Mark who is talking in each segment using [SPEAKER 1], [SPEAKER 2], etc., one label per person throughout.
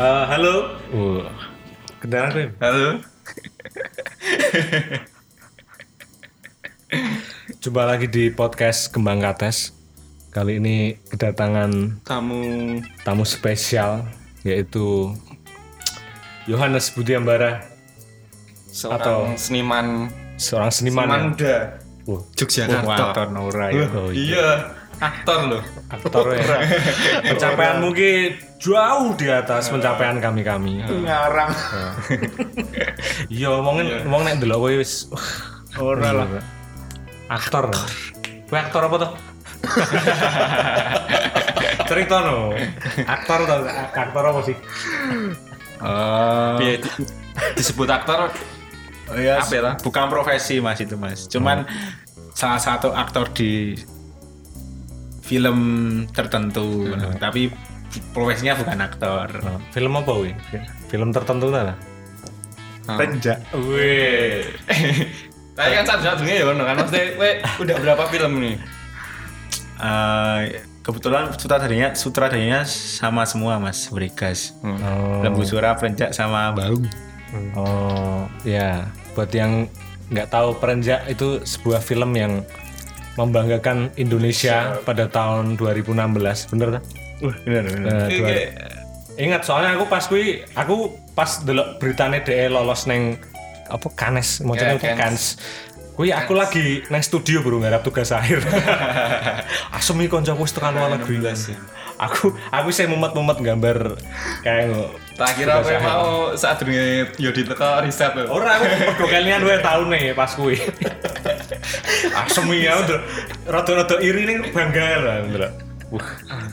[SPEAKER 1] Eh, halo.
[SPEAKER 2] Wah. Kedengaran Rem.
[SPEAKER 1] Halo.
[SPEAKER 2] Jumpa lagi di podcast Kembang Kates. Kali ini kedatangan
[SPEAKER 1] Kamu
[SPEAKER 2] tamu spesial yaitu Yohanes Budiambara,
[SPEAKER 1] seorang seniman
[SPEAKER 2] seorang seniman.
[SPEAKER 1] seniman
[SPEAKER 2] ya?
[SPEAKER 1] muda.
[SPEAKER 2] Wah,
[SPEAKER 1] Yogyakarta.
[SPEAKER 2] Nora ya.
[SPEAKER 1] Loh,
[SPEAKER 2] Oh, iya.
[SPEAKER 1] iya, aktor loh.
[SPEAKER 2] Aktor ya. Pencapaian mungkin jauh di atas pencapaian kami-kami. Ya.
[SPEAKER 3] ngarang
[SPEAKER 2] Iya, ngomongin ngomong nek delok kowe wis Iya.
[SPEAKER 3] ora lah
[SPEAKER 2] aktor. Kowe aktor apa toh? Cerita no. Aktor toh, aktor apa sih? Oh.
[SPEAKER 1] Biar di- disebut aktor
[SPEAKER 3] Oh ya,
[SPEAKER 1] Apa ya, lah?
[SPEAKER 3] bukan profesi mas itu mas cuman salah satu aktor di film tertentu Nah, tapi profesinya bukan aktor
[SPEAKER 2] Film apa wih? Film tertentu ta?
[SPEAKER 3] penjak
[SPEAKER 1] Weh. Tapi kan satu satunya ya ono kan maksudnya weh udah berapa film nih?
[SPEAKER 3] Eh, kebetulan sutradaranya sutradaranya sama semua mas Brigas
[SPEAKER 2] Oh.
[SPEAKER 3] Lembu Sura penjak sama Baung
[SPEAKER 2] Oh, ya. Buat yang nggak tahu Perenjak itu sebuah film yang membanggakan Indonesia pada tahun 2016, bener tak?
[SPEAKER 3] Wah, benar benar
[SPEAKER 2] Eh,
[SPEAKER 1] Oke,
[SPEAKER 2] dua-
[SPEAKER 1] oke.
[SPEAKER 2] Ingat soalnya aku pas kui aku pas delok beritane DE lolos neng apa Kanes, maksudnya
[SPEAKER 1] Ya,
[SPEAKER 2] yeah,
[SPEAKER 1] Cannes.
[SPEAKER 2] Kanes. Kui aku lagi neng studio bro ngarap tugas akhir. Asem iki kancaku wis tekan luar negeri. Aku aku sih mumet-mumet gambar kayak ngono.
[SPEAKER 1] Tak kira aku mau saat dunia Yodi teka riset loh.
[SPEAKER 2] Ora aku podo kalian dua tahun nih pas kui. Asem iki aku ndelok, rada-rada iri ning bangga lah ndelok. Wah,
[SPEAKER 1] Ah,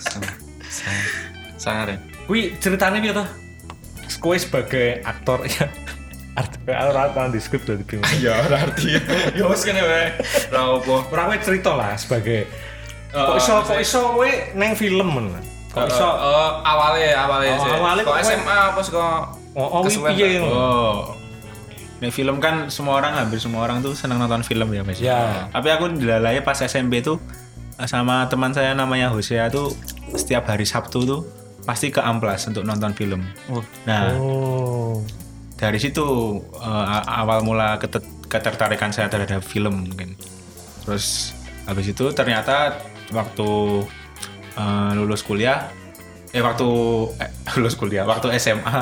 [SPEAKER 1] Sangar ya.
[SPEAKER 2] Wih ceritanya piye tuh? Kowe sebagai aktor ya. Artinya aku ora paham di skrip dari film.
[SPEAKER 1] Ya ora arti. Ya wis kene wae. Ora apa.
[SPEAKER 2] Ora kowe cerita lah sebagai
[SPEAKER 1] Oh,
[SPEAKER 2] kok iso
[SPEAKER 1] maksudnya-
[SPEAKER 2] kok iso kowe neng film men. Kok iso
[SPEAKER 1] Eh, awalnya awalnya
[SPEAKER 2] Oh,
[SPEAKER 1] sih.
[SPEAKER 2] awalnya
[SPEAKER 1] Kok
[SPEAKER 2] kok-
[SPEAKER 1] SMA apa sih kok
[SPEAKER 2] oh oh,
[SPEAKER 1] kesuwen
[SPEAKER 2] kuwi piye
[SPEAKER 1] lah.
[SPEAKER 2] ngono.
[SPEAKER 3] oh ini film kan semua orang hampir semua orang tuh senang nonton film ya mas
[SPEAKER 2] Ya.
[SPEAKER 3] Tapi aku dilalai pas SMP tuh eh, sama teman saya namanya Hosea tuh setiap hari Sabtu tuh pasti ke Amplas untuk nonton film. Nah
[SPEAKER 2] Oh.
[SPEAKER 3] dari situ eh, a- awal mula ketet- ketertarikan saya terhadap film mungkin. Terus habis itu ternyata waktu eh, lulus kuliah eh waktu eh, lulus kuliah waktu SMA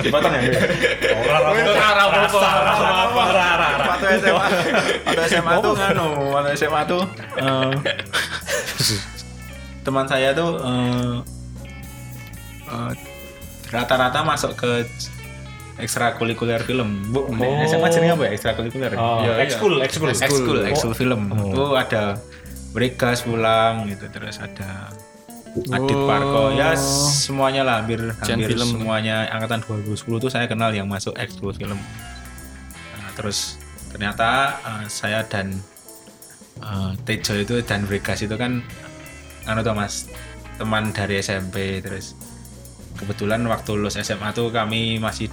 [SPEAKER 3] dipotong ya
[SPEAKER 2] Ora ora
[SPEAKER 1] Ora ora apa-apa.
[SPEAKER 2] ora ora ora ora.
[SPEAKER 3] waktu SMA waktu SMA tuh nganu anu, waktu SMA tuh eh, teman saya tuh eh, eh, rata-rata masuk ke ekstrakurikuler film bu
[SPEAKER 2] Oh.
[SPEAKER 3] SMA jenenge apa ya ekstrakurikuler ya?
[SPEAKER 2] Oh,
[SPEAKER 1] Iya, iya.
[SPEAKER 2] ekskul, ekskul.
[SPEAKER 3] ekskul
[SPEAKER 2] Oh,
[SPEAKER 3] ekskul film
[SPEAKER 2] Oh.
[SPEAKER 3] itu ada Bregas pulang gitu terus ada Adit Parko ya semuanya lah hampir
[SPEAKER 1] Jan
[SPEAKER 3] hampir
[SPEAKER 1] film.
[SPEAKER 3] semuanya angkatan 2010 tuh saya kenal yang masuk ekskul film Nah, terus ternyata eh, saya dan eh, Tejo itu dan Bregas itu kan anu toh mas teman dari SMP terus kebetulan waktu lulus SMA tuh kami masih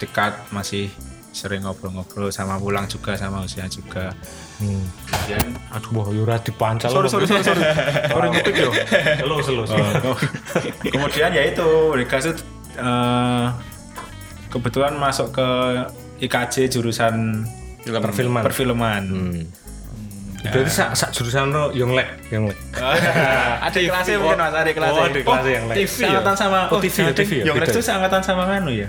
[SPEAKER 3] dekat masih sering ngobrol-ngobrol sama pulang juga sama usia juga
[SPEAKER 2] Hmm.
[SPEAKER 3] kemudian
[SPEAKER 2] Aduh, wah, yo ora dipancal.
[SPEAKER 3] sorry sorry sorry sorry ya.
[SPEAKER 2] Ora ngetik yo. Selo, selo.
[SPEAKER 3] Oh. kemudian ya itu mereka itu eh, kebetulan masuk ke IKJ jurusan
[SPEAKER 2] Perfilman. Hmm.
[SPEAKER 3] perfilman
[SPEAKER 2] Berarti sak sak jurusan ro yang lek, yang lek.
[SPEAKER 3] ada kelasnya mungkin mas ada kelasnya
[SPEAKER 2] Oh, adik kelasnya yang lek.
[SPEAKER 3] TV seangkatan sama
[SPEAKER 2] Oh, TV ya,
[SPEAKER 3] jangan
[SPEAKER 2] TV ya,
[SPEAKER 3] yang
[SPEAKER 2] beda.
[SPEAKER 3] itu seangkatan sama Manu ya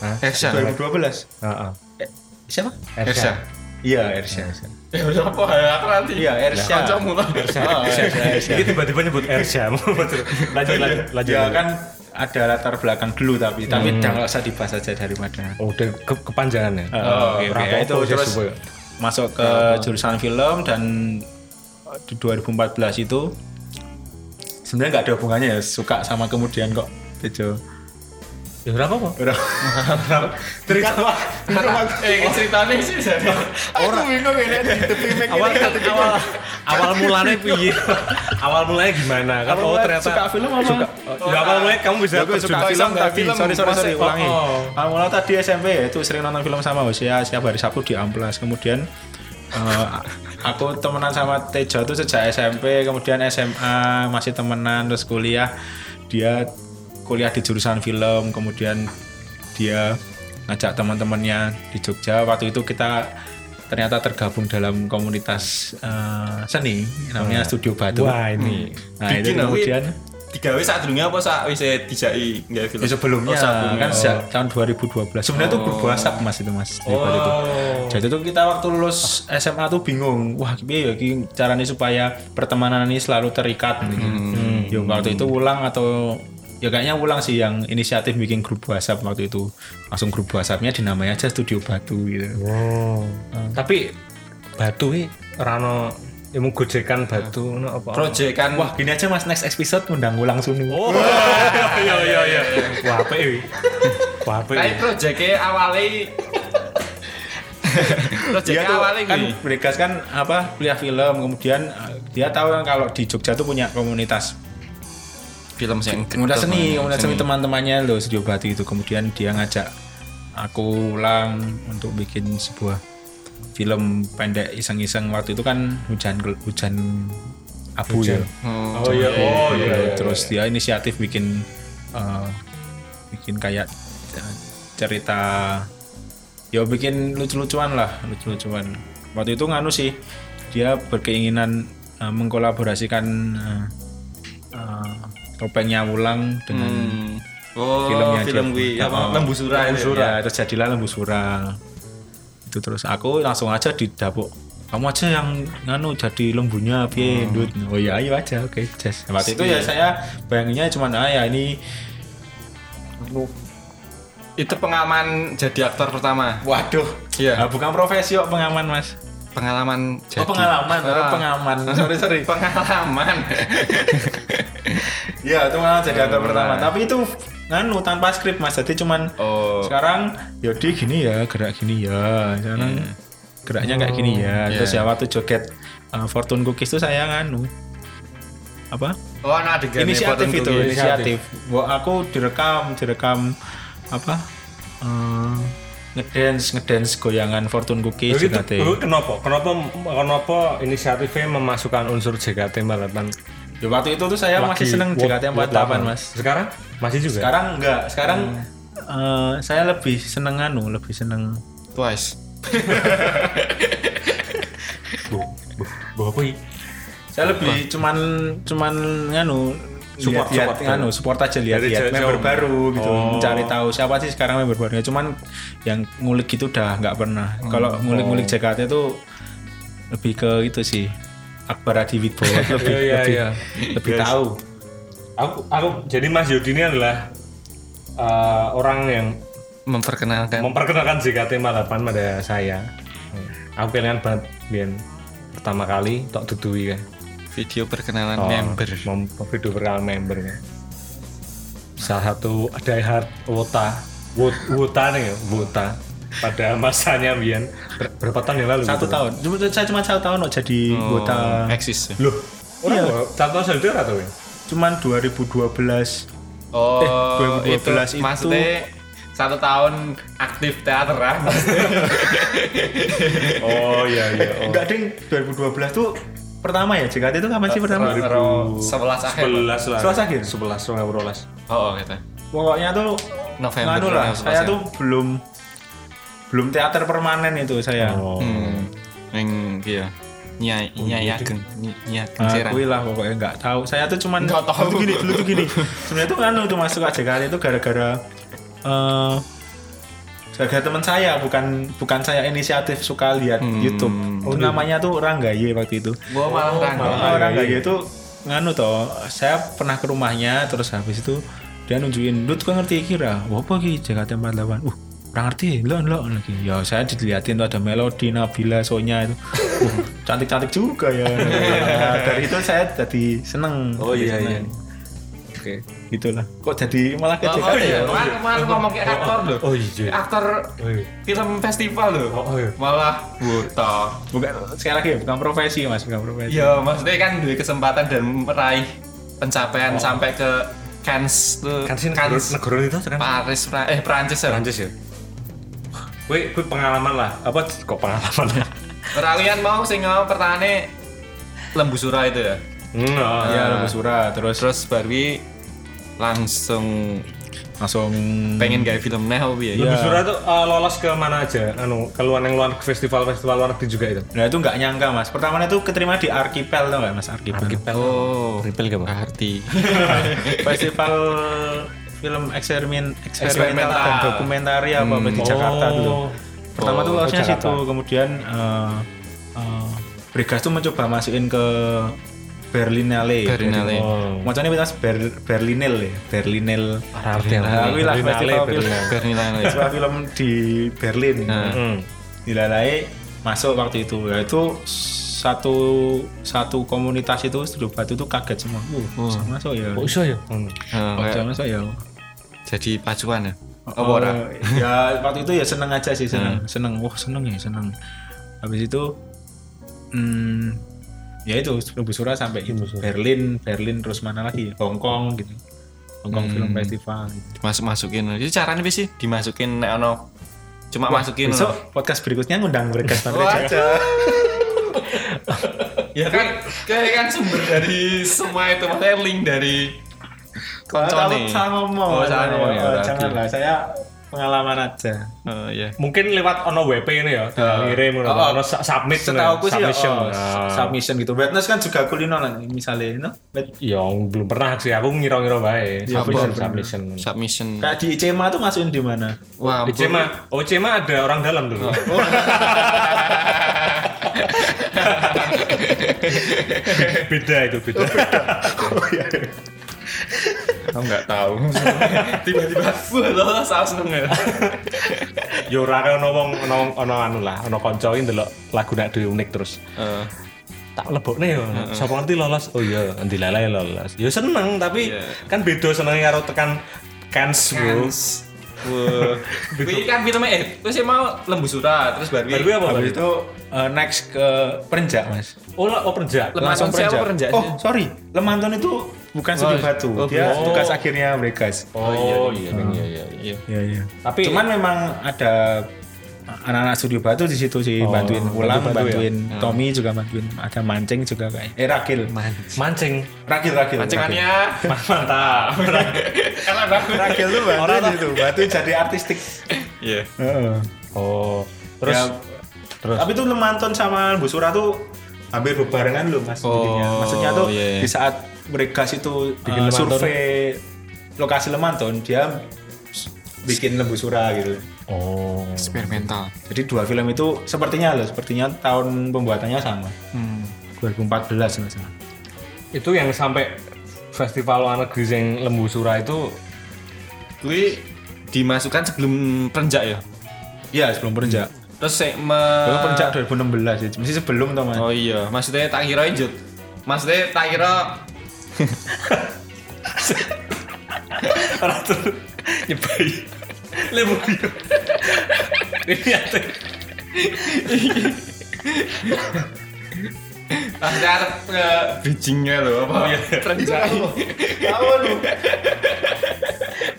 [SPEAKER 2] Hah?
[SPEAKER 1] Hersha.
[SPEAKER 3] 2012
[SPEAKER 2] Heeh.
[SPEAKER 3] Eh, siapa
[SPEAKER 1] Hersha.
[SPEAKER 3] iya Ersya Ersya.
[SPEAKER 1] Ya wis apa ya aku nanti.
[SPEAKER 3] iya Ersya
[SPEAKER 1] Kancamu lah.
[SPEAKER 3] Oh, Ersya, Ersya.
[SPEAKER 2] Ini tiba-tiba nyebut Ersya. lanjut, lanjut, lanjut. Hmm.
[SPEAKER 3] ya kan ada latar belakang dulu tapi tapi jangan usah dibahas aja daripada
[SPEAKER 2] Oh, udah ke kepanjangan ya.
[SPEAKER 3] Oh, oke,
[SPEAKER 2] Berapa
[SPEAKER 3] oke. itu
[SPEAKER 2] proses
[SPEAKER 3] terus
[SPEAKER 2] supaya-
[SPEAKER 3] masuk ke jurusan film dan eh, di 2014 itu sebenarnya nggak ada hubungannya ya suka sama kemudian kok Tejo.
[SPEAKER 2] Ya berapa kok?
[SPEAKER 3] Udah.
[SPEAKER 2] Terikat wah.
[SPEAKER 1] Eh ceritanya sih jadi. Aku bingung ini di tepi mic ini.
[SPEAKER 2] Awal awal awal mulanya piye? awal mulanya gimana? Kan oh
[SPEAKER 3] mulai
[SPEAKER 2] ternyata
[SPEAKER 3] suka film apa? Oh,
[SPEAKER 2] Suka. Ya awal mulanya kamu bisa
[SPEAKER 3] Aku
[SPEAKER 2] terjun ke
[SPEAKER 1] film tapi-
[SPEAKER 3] eh, sorry sorry sorry
[SPEAKER 2] masih-
[SPEAKER 3] ulangi.
[SPEAKER 2] oh, oh.
[SPEAKER 3] Awal mula tadi SMP ya, itu sering nonton film sama Hosea setiap hari Sabtu di Amplas. Kemudian eh, aku temenan sama Tejo itu sejak SMP, kemudian SMA masih temenan terus kuliah dia kuliah di jurusan film kemudian dia ngajak teman-temannya di Jogja waktu itu kita ternyata tergabung dalam komunitas eh, seni namanya Studio Batu
[SPEAKER 2] Wah ini.
[SPEAKER 3] nah itu
[SPEAKER 1] Bikin aku
[SPEAKER 3] kemudian
[SPEAKER 1] tiga wis saat dunia apa saat wis dijai nggak film
[SPEAKER 3] Ya, sebelumnya
[SPEAKER 1] Oh, sebelumnya.
[SPEAKER 3] kan sejak tahun 2012 sebenarnya itu
[SPEAKER 1] Oh.
[SPEAKER 3] berbuah sap mas itu mas
[SPEAKER 1] oh.
[SPEAKER 3] daripada itu. Jadi itu kita waktu lulus SMA tuh bingung, wah piye ya iki carane supaya pertemanan ini selalu terikat. gitu.
[SPEAKER 1] Hmm.
[SPEAKER 3] Ya, waktu itu ulang atau ya kayaknya ulang sih yang inisiatif bikin grup WhatsApp waktu itu. Langsung grup WhatsAppnya dinamai aja Studio Batu gitu.
[SPEAKER 2] Wow. Hmm. Tapi batu ini rano ya mau gojekan batu no, apa?
[SPEAKER 1] project kan
[SPEAKER 3] Wah, gini aja Mas next episode undang ulang Sunu.
[SPEAKER 2] Oh.
[SPEAKER 1] iya iya iya
[SPEAKER 2] Wah apa ini? Wah apa
[SPEAKER 1] tapi
[SPEAKER 2] ini?
[SPEAKER 1] projectnya awalnya
[SPEAKER 3] dia
[SPEAKER 1] projectnya
[SPEAKER 3] tuh
[SPEAKER 1] ya, awalnya
[SPEAKER 3] kan
[SPEAKER 1] gini
[SPEAKER 3] Bregas kan apa kuliah film kemudian eh, dia tahu kan kalau di Jogja tuh punya komunitas
[SPEAKER 1] film sing
[SPEAKER 3] komunitas seni, komunitas seni teman-temannya loh Studio Batu itu. Kemudian dia ngajak aku ulang untuk bikin sebuah film pendek iseng-iseng waktu itu kan hujan gel- hujan abu ya.
[SPEAKER 2] Oh iya. Oh iya.
[SPEAKER 3] Terus dia inisiatif bikin eh, bikin kayak eh, cerita ya bikin lucu-lucuan lah, lucu-lucuan. Waktu itu nganu sih dia berkeinginan eh, mengkolaborasikan eh, eh, topengnya ulang dengan
[SPEAKER 2] Hmm.
[SPEAKER 1] oh
[SPEAKER 3] filmnya
[SPEAKER 1] film
[SPEAKER 3] dia.
[SPEAKER 1] gue
[SPEAKER 2] iya.
[SPEAKER 1] apa
[SPEAKER 3] Oh.
[SPEAKER 1] lembu surah itu.
[SPEAKER 3] Ya, terjadilah lembu surah. Itu terus aku langsung aja didapuk. Kamu aja yang nganu jadi lembunya piye Dut?" Oh ya ayo aja oke jas. Nah, Waktu itu ya saya bayanginnya cuman ah ya ini
[SPEAKER 1] itu pengalaman jadi aktor pertama
[SPEAKER 3] waduh.
[SPEAKER 1] Iya.
[SPEAKER 3] Ah, bukan profesi kok pengaman Mas.
[SPEAKER 1] pengalaman jadi
[SPEAKER 3] Oh pengalaman, oh,
[SPEAKER 1] Ah.
[SPEAKER 3] pengaman. Sorry sorry.
[SPEAKER 1] pengalaman
[SPEAKER 3] Iya, itu malah jadi aktor pertama. Tapi itu nganu tanpa skrip Mas. Jadi cuman
[SPEAKER 1] oh
[SPEAKER 3] sekarang Yodi gini ya gerak gini ya sekarang geraknya kayak gini ya terus ya waktu joget uh, Fortune Cookies itu saya nganu apa
[SPEAKER 1] oh anak adegan
[SPEAKER 3] inisiatif itu inisiatif Wah, aku direkam direkam apa eh, ngedance ngedance goyangan Fortune Cookies
[SPEAKER 2] Jadi
[SPEAKER 3] JKT.
[SPEAKER 2] itu- kenapa? Kenapa kenapa inisiatifnya memasukkan unsur JKT 48?
[SPEAKER 3] Ya, waktu itu tuh saya masih
[SPEAKER 2] Lagi
[SPEAKER 3] seneng
[SPEAKER 2] Word-
[SPEAKER 3] JKT 48 mas
[SPEAKER 2] Sekarang masih juga.
[SPEAKER 3] sekarang enggak sekarang eh, saya lebih seneng anu lebih seneng
[SPEAKER 1] twice
[SPEAKER 2] Bu, bu, bu apa ini?
[SPEAKER 3] saya lebih cuman cuman nganu
[SPEAKER 2] Support,
[SPEAKER 3] lihat-lihat,
[SPEAKER 2] support. ya.
[SPEAKER 3] nganu support aja lihat
[SPEAKER 2] Dari
[SPEAKER 3] lihat
[SPEAKER 2] jauh-jauh.
[SPEAKER 3] member baru gitu
[SPEAKER 2] Oh.
[SPEAKER 3] mencari tahu siapa sih sekarang member barunya cuman yang ngulik gitu udah nggak pernah kalau
[SPEAKER 2] Oh.
[SPEAKER 3] ngulik-ngulik JKT itu lebih ke itu sih Akbar Adi Wibowo lebih
[SPEAKER 2] Iya, iya,
[SPEAKER 3] lebih,
[SPEAKER 2] iya.
[SPEAKER 3] lebih tahu
[SPEAKER 2] Aku aku jadi Mas Yodi ini adalah eh, orang yang
[SPEAKER 1] memperkenalkan
[SPEAKER 2] Kan. memperkenalkan JKT 48 pada saya. Aku kelingan banget Bian. pertama kali tok dudui kan.
[SPEAKER 1] video perkenalan
[SPEAKER 2] Oh,
[SPEAKER 1] member
[SPEAKER 2] mem- video perkenalan member kan. Salah satu diehard Wota, Wot- Wota nih ya, Wota. Pada masanya Bian Ber- berapa tahun yang lalu?
[SPEAKER 3] satu
[SPEAKER 2] gitu?
[SPEAKER 3] tahun cuma saya cuma satu tahun loh jadi
[SPEAKER 2] Oh.
[SPEAKER 3] anggota
[SPEAKER 2] Eh.
[SPEAKER 1] eksis ya.
[SPEAKER 2] Loh, orang
[SPEAKER 3] Iya.
[SPEAKER 2] bawa- satu tahun sudah atau ya?
[SPEAKER 3] cuman 2012
[SPEAKER 1] oh
[SPEAKER 3] Eh, 2012 itu-
[SPEAKER 1] maksudnya satu tahun aktif ah. teateran
[SPEAKER 2] Oh iya iya. Oh.
[SPEAKER 3] enggak ding 2012 tuh pertama ya JKT itu kapan sih pertama
[SPEAKER 1] Ro- sebelas akhir
[SPEAKER 2] Sebelas lah.
[SPEAKER 3] Sebelas akhir?
[SPEAKER 2] Sebelas sebelas, sebelas.
[SPEAKER 1] oh gitu
[SPEAKER 3] pokoknya tuh
[SPEAKER 1] November,
[SPEAKER 3] nganu lah
[SPEAKER 1] November,
[SPEAKER 3] saya
[SPEAKER 1] November.
[SPEAKER 3] tuh belum belum teater permanen itu saya
[SPEAKER 2] Oh.
[SPEAKER 3] oh.
[SPEAKER 1] hmm yang iya nyai
[SPEAKER 2] gitu.
[SPEAKER 1] nyai ageng nyai ageng serang
[SPEAKER 2] ya-
[SPEAKER 3] lah pokoknya nggak tahu saya tuh cuman
[SPEAKER 1] Nggak tahu.
[SPEAKER 3] dulu gini dulu tuh gini sebenarnya tuh nganu tuh masuk aja kali itu gara-gara eh gara-gara teman saya bukan bukan saya inisiatif suka lihat
[SPEAKER 1] Hmm.
[SPEAKER 3] YouTube Itu namanya tuh Ranggaye waktu itu
[SPEAKER 1] gua malah
[SPEAKER 3] Oh,
[SPEAKER 1] tanggal
[SPEAKER 2] malah.
[SPEAKER 3] orang
[SPEAKER 2] iya,
[SPEAKER 3] kayak gitu nganu toh saya pernah ke rumahnya terus habis itu dia nunjukin lu tuh ngerti kira wah apa ki JKT 48 uh kurang ngerti lo lo lagi ya saya diliatin tuh ada melodi Nabila Sonya itu uh, cantik cantik juga ya Nah, dari itu saya jadi seneng
[SPEAKER 2] Oh, iya, Oh,
[SPEAKER 3] Jadi seneng.
[SPEAKER 2] Oke.
[SPEAKER 3] gitulah kok jadi malah ke JKT ya
[SPEAKER 1] oh, iya.
[SPEAKER 2] iya.
[SPEAKER 1] malah ngomong kayak aktor loh
[SPEAKER 2] Oh iya.
[SPEAKER 1] aktor
[SPEAKER 2] Oh iya.
[SPEAKER 1] film festival loh
[SPEAKER 2] Oh, iya.
[SPEAKER 1] malah buta
[SPEAKER 3] bukan sekali lagi ya, bukan profesi mas bukan profesi
[SPEAKER 1] Iya, maksudnya kan dua kesempatan dan meraih pencapaian sampai ke Cannes tuh.
[SPEAKER 2] Kan sih negara,
[SPEAKER 1] Cannes,
[SPEAKER 2] negara itu kan
[SPEAKER 1] Paris, Fra- eh Prancis ya.
[SPEAKER 2] Prancis ya. Kue kue pengalaman lah. Apa kok pengalaman lah?
[SPEAKER 3] ya?
[SPEAKER 1] Kalian mau sing ngomong pertanyaan lembu sura itu ya.
[SPEAKER 2] Hmm, oh.
[SPEAKER 3] Ah, ya lebih surah Iya, terus
[SPEAKER 1] Terus Barwi langsung
[SPEAKER 3] langsung
[SPEAKER 1] pengen gak film nah apa ya?
[SPEAKER 2] Lebih surah tuh eh, lolos ke mana aja? Anu, keluar yang luar ke festival-festival luar negeri juga itu.
[SPEAKER 3] Nah itu nggak nyangka mas. Pertamanya itu keterima di Arkipel tau nggak mas Arkipel?
[SPEAKER 1] Oh,
[SPEAKER 4] Ripple gak Pak?
[SPEAKER 1] arti.
[SPEAKER 3] Festival film eksperimen eksperimental
[SPEAKER 1] Eksperimental.
[SPEAKER 3] dan dokumentari apa apa di Jakarta dulu. Pertama tuh lolosnya
[SPEAKER 2] Jakarta.
[SPEAKER 3] situ, kemudian eh eh, Brigas tuh mencoba masukin ke Berlinale.
[SPEAKER 1] Berlinale.
[SPEAKER 2] Oh.
[SPEAKER 3] Macamnya kita Ber Berlinale, ya, Berlinale.
[SPEAKER 2] Arti
[SPEAKER 3] Nah, kuwi lah
[SPEAKER 2] Berlinale,
[SPEAKER 3] festival film,
[SPEAKER 2] Berlinale.
[SPEAKER 1] Bernilai.
[SPEAKER 3] festival film di Berlin.
[SPEAKER 1] Nah.
[SPEAKER 2] Hmm.
[SPEAKER 3] dilalai masuk waktu itu yaitu satu satu komunitas itu studio batu itu kaget semua uh, bisa masuk ya
[SPEAKER 2] Kok iso ya?
[SPEAKER 1] Nah,
[SPEAKER 3] Oh, bisa
[SPEAKER 1] kayak
[SPEAKER 3] masuk ya
[SPEAKER 1] jadi pacuan ya.
[SPEAKER 3] Oh,
[SPEAKER 1] Apa ora?
[SPEAKER 3] ya waktu itu ya seneng aja sih seneng seneng wah seneng ya seneng habis itu hmm, ya itu Lubusura sampai gitu. Berlin Berlin terus mana lagi Hong Kong gitu Hong Kong Film Festival gitu.
[SPEAKER 1] Masuk-masukin. Jadi caranya apa sih? Dimasukin nek ono cuma masukin
[SPEAKER 3] besok
[SPEAKER 1] ono.
[SPEAKER 3] podcast berikutnya ngundang mereka
[SPEAKER 1] Wajah. ya kan, kayak kan sumber dari semua itu maksudnya link dari
[SPEAKER 3] Kalau
[SPEAKER 1] koncone.
[SPEAKER 3] salah ngomong,
[SPEAKER 1] Oh, salah ngomong ya.
[SPEAKER 3] Oh, janganlah, saya pengalaman aja.
[SPEAKER 1] Oh, iya.
[SPEAKER 2] Mungkin lewat ono WP ini ya, tinggal ngirim ono
[SPEAKER 3] Oh, oh.
[SPEAKER 2] ono su- submit
[SPEAKER 3] Setahu aku sih ya,
[SPEAKER 2] submission.
[SPEAKER 3] oh,
[SPEAKER 2] Nah.
[SPEAKER 3] submission gitu. Wetness kan juga kulino lah, misalnya, you know? Wet-
[SPEAKER 2] Ya, belum pernah sih aku ngira-ngira bae.
[SPEAKER 3] Iya,
[SPEAKER 2] Submission,
[SPEAKER 3] bener.
[SPEAKER 2] submission.
[SPEAKER 1] Submission.
[SPEAKER 3] Kayak di ICMA tuh masukin di mana?
[SPEAKER 1] Wah,
[SPEAKER 2] Di Cema, oh Cema ada orang dalam dulu.
[SPEAKER 3] Oh.
[SPEAKER 2] beda itu beda.
[SPEAKER 1] Aku nggak tahu. Tiba-tiba wah lolos langsung ya.
[SPEAKER 2] Yo ora ono wong ono ono anu lah, ono kanca iki ndelok lagu nak dhewe unik terus.
[SPEAKER 1] Eh,
[SPEAKER 2] Tak lebokne yo. Sapa ngerti lolos? Oh iya, ndilalai lolos. Yo seneng tapi
[SPEAKER 1] Iya.
[SPEAKER 2] kan beda senenge karo tekan kans bro.
[SPEAKER 1] Wah, Ini kan filmnya eh terus ya mau lembu surat terus baru
[SPEAKER 2] Baru apa baru?
[SPEAKER 3] Habis itu eh, next ke Perenjak, Mas.
[SPEAKER 2] Oh, lah, oh perja.
[SPEAKER 1] Lemanton
[SPEAKER 3] Langsung
[SPEAKER 1] siapa Perenjak?
[SPEAKER 3] Perenjak. Oh, sorry. Lemanton itu bukan Studio
[SPEAKER 1] Oh,
[SPEAKER 3] Batu.
[SPEAKER 1] oh,
[SPEAKER 3] Dia
[SPEAKER 2] bukan.
[SPEAKER 3] tugas akhirnya Bregas.
[SPEAKER 2] Oh iya iya iya.
[SPEAKER 1] Iya.
[SPEAKER 3] Iya, iya.
[SPEAKER 2] Tapi
[SPEAKER 3] Cuman memang ada anak-anak studio batu di situ sih bantuin ulang,
[SPEAKER 2] bantu-bantu ya?
[SPEAKER 3] bantuin Tommy juga bantuin, ada mancing juga kayak. Eh Rakil,
[SPEAKER 2] mancing.
[SPEAKER 3] Rakil, Rakil. Rakil.
[SPEAKER 1] Pancingannya
[SPEAKER 2] Mantap.
[SPEAKER 1] enak banget.
[SPEAKER 3] Rakil tuh batu itu, batu jadi artistik.
[SPEAKER 1] Iya.
[SPEAKER 3] Heeh.
[SPEAKER 2] Oh. Terus
[SPEAKER 3] Ya, Tapi tuh Lemanton sama Bu Sura tuh hampir berbarengan loh mas.
[SPEAKER 1] Oh,
[SPEAKER 3] bikinnya. Maksudnya tuh
[SPEAKER 1] iya, iya.
[SPEAKER 3] di saat mereka situ
[SPEAKER 2] Bikin
[SPEAKER 3] uh,
[SPEAKER 2] Lemanton.
[SPEAKER 3] survei lokasi Lemanton, dia s- bikin Lembu Sura gitu.
[SPEAKER 2] oh.
[SPEAKER 1] Eksperimental.
[SPEAKER 3] Jadi dua film itu sepertinya loh, sepertinya tahun pembuatannya sama. 2014 nggak salah.
[SPEAKER 2] Itu yang sampai festival luar negeri yang Lembu Sura itu
[SPEAKER 1] Gue dimasukkan sebelum perenjak ya.
[SPEAKER 3] Iya sebelum perenjak.
[SPEAKER 1] Terus saya me...
[SPEAKER 3] Sebelum perenjak 2016 ya, masih sebelum tuh mas.
[SPEAKER 1] Oh iya, maksudnya tak kira injut. Maksudnya tak kira
[SPEAKER 2] Ratu nyebai Lembu Biru. Ini ate.
[SPEAKER 1] maksudnya arep ke eh, bridgingnya loh apa?
[SPEAKER 2] iya.
[SPEAKER 1] Perenjak.
[SPEAKER 3] Tahu lu.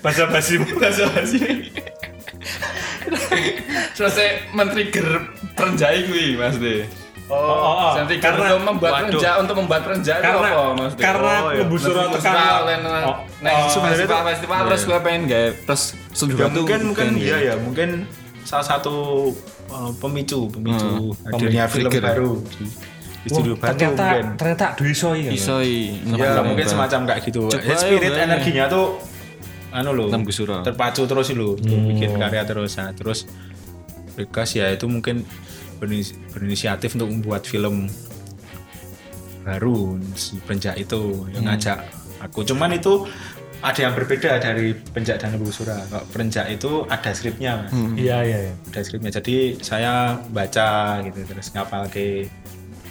[SPEAKER 2] Bahasa basi
[SPEAKER 3] Oh,
[SPEAKER 2] bahasa basi.
[SPEAKER 1] Terus saya men-trigger perenjak gue maksudnya.
[SPEAKER 2] Oh, oh, oh.
[SPEAKER 1] Saya trigger
[SPEAKER 2] karena
[SPEAKER 1] untuk membuat perenjak untuk membuat perenjak itu
[SPEAKER 2] karena
[SPEAKER 1] apa maksudnya?
[SPEAKER 2] karena
[SPEAKER 3] Oh, iya.
[SPEAKER 2] Lembu Sura
[SPEAKER 1] Terus
[SPEAKER 2] tekan
[SPEAKER 1] festival, lain- lain-
[SPEAKER 2] Oh,
[SPEAKER 1] Nah,
[SPEAKER 2] oh,
[SPEAKER 1] festival festival terus gue pengen gak terus setuju
[SPEAKER 3] Ya
[SPEAKER 1] batu,
[SPEAKER 3] mungkin mungkin
[SPEAKER 1] pengen
[SPEAKER 3] iya
[SPEAKER 1] gaya.
[SPEAKER 3] ya mungkin salah satu uh, pemicu pemicu hadirnya film
[SPEAKER 1] Trigger.
[SPEAKER 3] baru di, di studio
[SPEAKER 2] wah,
[SPEAKER 3] baru
[SPEAKER 2] ternyata
[SPEAKER 3] mungkin.
[SPEAKER 2] ternyata duisoi ya.
[SPEAKER 1] Isoi.
[SPEAKER 3] Ya mungkin semacam kayak gitu.
[SPEAKER 1] Coba
[SPEAKER 3] Ya, spirit
[SPEAKER 1] ayo, ayo.
[SPEAKER 3] energinya tuh anu loh.
[SPEAKER 1] Enam gusura.
[SPEAKER 3] Terpacu terus loh,
[SPEAKER 1] Hmm.
[SPEAKER 3] bikin karya terus. Nah, terus Regas ya itu mungkin berinisi- berinisiatif untuk membuat film baru si penjak itu yang
[SPEAKER 1] Hmm.
[SPEAKER 3] ngajak aku. Cuman itu ada yang berbeda dari penjak dan Lembu Sura. Kalau penjak itu ada skripnya, Mas.
[SPEAKER 1] Hmm.
[SPEAKER 2] Iya iya iya.
[SPEAKER 3] ada skripnya. Jadi saya baca gitu terus ngapal ke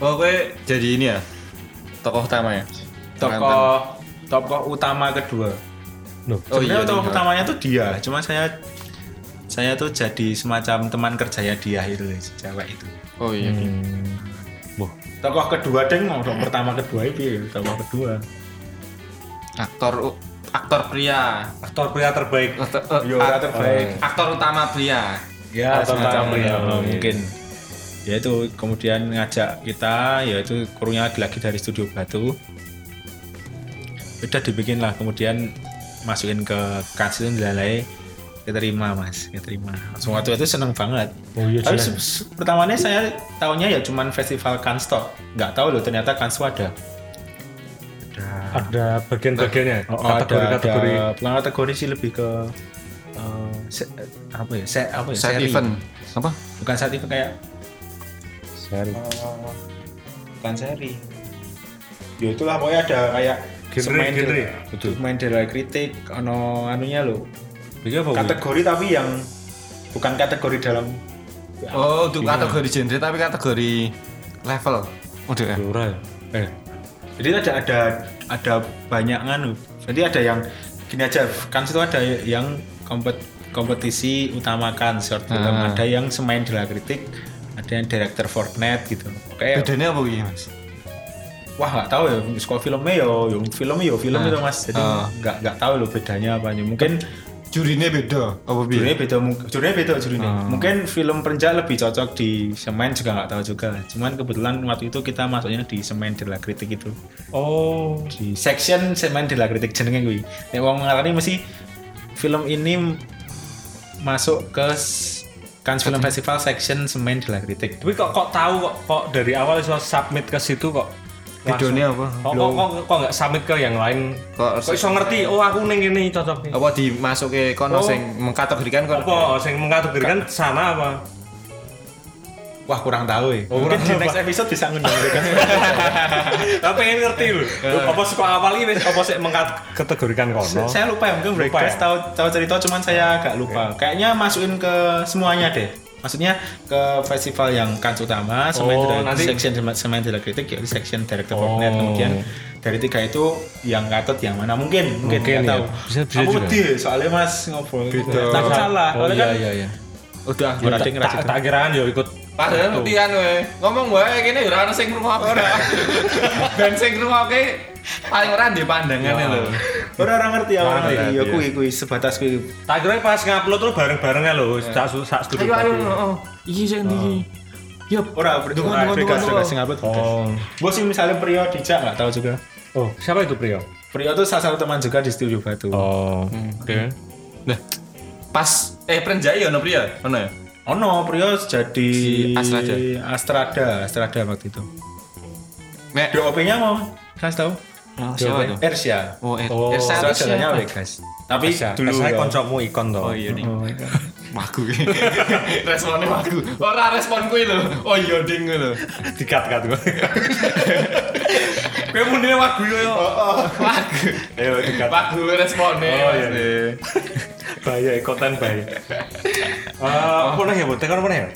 [SPEAKER 1] Oh, gue jadi ini ya. Tokoh utama ya. Pengantin.
[SPEAKER 3] tokoh tokoh utama kedua.
[SPEAKER 2] Loh.
[SPEAKER 1] Oh iya.
[SPEAKER 3] Sebenarnya utama
[SPEAKER 1] iya.
[SPEAKER 3] utamanya tuh dia, cuma saya saya tuh jadi semacam teman kerjanya dia itu loh, si cewek itu.
[SPEAKER 1] Oh iya.
[SPEAKER 2] Hmm. Wah,
[SPEAKER 3] Tokoh kedua deng mau tokoh pertama kedua itu, tokoh kedua.
[SPEAKER 1] Aktor u- aktor pria.
[SPEAKER 2] aktor pria terbaik.
[SPEAKER 1] Aktor- eh,
[SPEAKER 3] Yo, ora
[SPEAKER 1] ak-
[SPEAKER 3] terbaik.
[SPEAKER 1] Aktor utama pria.
[SPEAKER 3] Ya,
[SPEAKER 2] Atau
[SPEAKER 3] semacam
[SPEAKER 2] tamu, ya,
[SPEAKER 3] ya,
[SPEAKER 2] oh,
[SPEAKER 3] mungkin. Ya itu kemudian ngajak kita, ya, yaitu krunya lagi-lagi dari studio Batu. Udah dibikin lah, kemudian masukin ke kats itu dilalai keterima mas keterima langsung waktu itu seneng banget
[SPEAKER 2] Oh iya
[SPEAKER 3] tapi
[SPEAKER 2] jelas.
[SPEAKER 3] se- se- pertamanya saya tahunya ya cuman festival Kanstok nggak tahu loh ternyata Kansto ada
[SPEAKER 2] Ada bagian-bagiannya.
[SPEAKER 3] Oh, ada-
[SPEAKER 2] Kategori-kategori.
[SPEAKER 3] ada, bukan kategori sih lebih ke eh, se- apa ya se- apa ya
[SPEAKER 1] Side
[SPEAKER 3] seri.
[SPEAKER 1] event. Apa?
[SPEAKER 3] bukan set event kayak
[SPEAKER 2] Seri.
[SPEAKER 3] eh, bukan seri ya itulah pokoknya ada kayak
[SPEAKER 2] Genre,
[SPEAKER 3] semain
[SPEAKER 2] genre.
[SPEAKER 3] del-
[SPEAKER 2] Betul.
[SPEAKER 3] main dari kritik ono anunya loh
[SPEAKER 2] Ini apa? Wi?
[SPEAKER 3] kategori tapi yang bukan kategori dalam
[SPEAKER 1] Oh, untuk
[SPEAKER 3] Iya.
[SPEAKER 1] kategori genre tapi kategori level. Udah ya.
[SPEAKER 2] Blora ya? Eh,
[SPEAKER 3] jadi ada ada ada banyak anu jadi ada yang gini aja kan itu ada yang kompet, kompetisi utamakan short film
[SPEAKER 1] Ah.
[SPEAKER 3] ada yang semain drama kritik ada yang director Fortnite gitu oke
[SPEAKER 1] Bedanya apa gitu, Mas?
[SPEAKER 3] wah nggak tahu ya sekolah filmnya yo yo filmnya yo film
[SPEAKER 1] Ah.
[SPEAKER 3] itu mas jadi
[SPEAKER 1] Ah.
[SPEAKER 3] nggak nggak tahu loh bedanya apa mungkin
[SPEAKER 1] Jurinya beda. Apa
[SPEAKER 3] jurinya
[SPEAKER 1] piye?
[SPEAKER 3] beda mung- jurinya beda jurinya
[SPEAKER 1] Iya. Ah.
[SPEAKER 3] mungkin film perenjak lebih cocok di semain juga nggak tahu juga cuman kebetulan waktu itu kita masuknya di semain drama kritik itu
[SPEAKER 2] Oh,
[SPEAKER 3] di section semen di kritik jenenge kuwi. Nek wong ngarani mesti film ini masuk ke Cannes Film Festival section semen di kritik.
[SPEAKER 2] tapi kok kok tahu kok kok dari awal iso submit ke situ kok langsung-
[SPEAKER 1] Bedanya apa?
[SPEAKER 2] Kok kok kok kok nggak submit ke yang lain?
[SPEAKER 1] Kok
[SPEAKER 2] Kok iso ngerti? Oh aku neng ini cocoknya.
[SPEAKER 1] apa dimasuk ke
[SPEAKER 2] Oh.
[SPEAKER 1] kono sing mengkategorikan kono?
[SPEAKER 2] Apa sing mengkategorikan sana apa?
[SPEAKER 3] Wah kurang tahu ya.
[SPEAKER 2] Oh, kurang
[SPEAKER 3] Mungkin di
[SPEAKER 2] tahu,
[SPEAKER 3] next episode bisa ngundang mereka.
[SPEAKER 2] Tapi pengen ngerti lho. Lho, Apa suka awal ini apa sih mengkategorikan kono?
[SPEAKER 3] saya lupa ya mungkin mereka
[SPEAKER 2] Lupa ya?
[SPEAKER 3] tahu tahu cerita cuman saya agak lupa. Kayaknya masukin ke semuanya deh. Maksudnya ke festival yang Cannes utama, semen
[SPEAKER 2] Oh,
[SPEAKER 3] di
[SPEAKER 2] nanti-
[SPEAKER 3] section semen di kritik, ya di section director
[SPEAKER 2] Oh.
[SPEAKER 3] Fortnite. kemudian dari tiga itu yang gatot yang mana mungkin mungkin
[SPEAKER 2] Mungkin
[SPEAKER 3] nggak
[SPEAKER 2] ya.
[SPEAKER 3] tahu.
[SPEAKER 2] Bisa- bisa
[SPEAKER 3] Aku
[SPEAKER 2] juga.
[SPEAKER 3] wedi soalnya mas ngobrol.
[SPEAKER 1] Beda.
[SPEAKER 3] Takut salah. Soalnya kan
[SPEAKER 2] Oh. iya iya.
[SPEAKER 1] Udah.
[SPEAKER 3] Ora ding ra
[SPEAKER 2] Tak
[SPEAKER 3] situ.
[SPEAKER 2] tak kirakan yo ikut
[SPEAKER 1] Padahal ngertian kowe. Ngomong wae kene ora ono sing ngrungokno. Ben sing ngrungokke paling ora ndek pandangane lho.
[SPEAKER 3] Ora orang ngerti ya,
[SPEAKER 2] Ora
[SPEAKER 3] orang
[SPEAKER 2] ngerti,
[SPEAKER 3] ngerti. Ya
[SPEAKER 2] iya.
[SPEAKER 3] kuwi kuwi sebatas kuwi.
[SPEAKER 2] tak kira pas ngupload tuh bareng-bareng ya lho, sak sak studio.
[SPEAKER 1] Ayo ayo.
[SPEAKER 2] tadi.
[SPEAKER 1] oh. Iki sing ndi iki. Yup.
[SPEAKER 3] Ora
[SPEAKER 1] Tunggu, tunggu, tunggu, tunggu.
[SPEAKER 3] ngabut.
[SPEAKER 2] Oh.
[SPEAKER 3] Bos sih misalnya Prio dijak nggak tahu juga.
[SPEAKER 2] Oh, siapa itu Priyo?
[SPEAKER 3] Prio tuh salah satu teman juga di Studio Batu.
[SPEAKER 2] Oh. Oke.
[SPEAKER 1] Nah, pas eh Prenjai ya ono priya? Ono ya?
[SPEAKER 3] Oh no, Prio jadi
[SPEAKER 1] Si Astrada.
[SPEAKER 3] Astrada, Astrada waktu itu.
[SPEAKER 1] Nek
[SPEAKER 3] DOP-nya mau kasih tahu?
[SPEAKER 1] Oh, siapa itu?
[SPEAKER 3] Ersia.
[SPEAKER 1] Oh, eh,
[SPEAKER 2] Oh,
[SPEAKER 1] Ersa itu
[SPEAKER 3] Astradanya
[SPEAKER 1] siapa?
[SPEAKER 3] Vegas. Tapi dulu
[SPEAKER 2] saya
[SPEAKER 3] ya.
[SPEAKER 2] koncomu ikon toh.
[SPEAKER 1] Oh iya ding. Waku. Responnya waku. Ora respon kuwi lho. Oh iya ding lho.
[SPEAKER 2] dikat kat gue gue mundine wagu yo yo Oh,
[SPEAKER 1] Waku.
[SPEAKER 2] ayo dikat
[SPEAKER 1] Waku responnya.
[SPEAKER 2] Oh, iya.
[SPEAKER 1] pasti.
[SPEAKER 2] bahaya ikutan bahaya Eh, apa nih ya buat tekan apa nih ya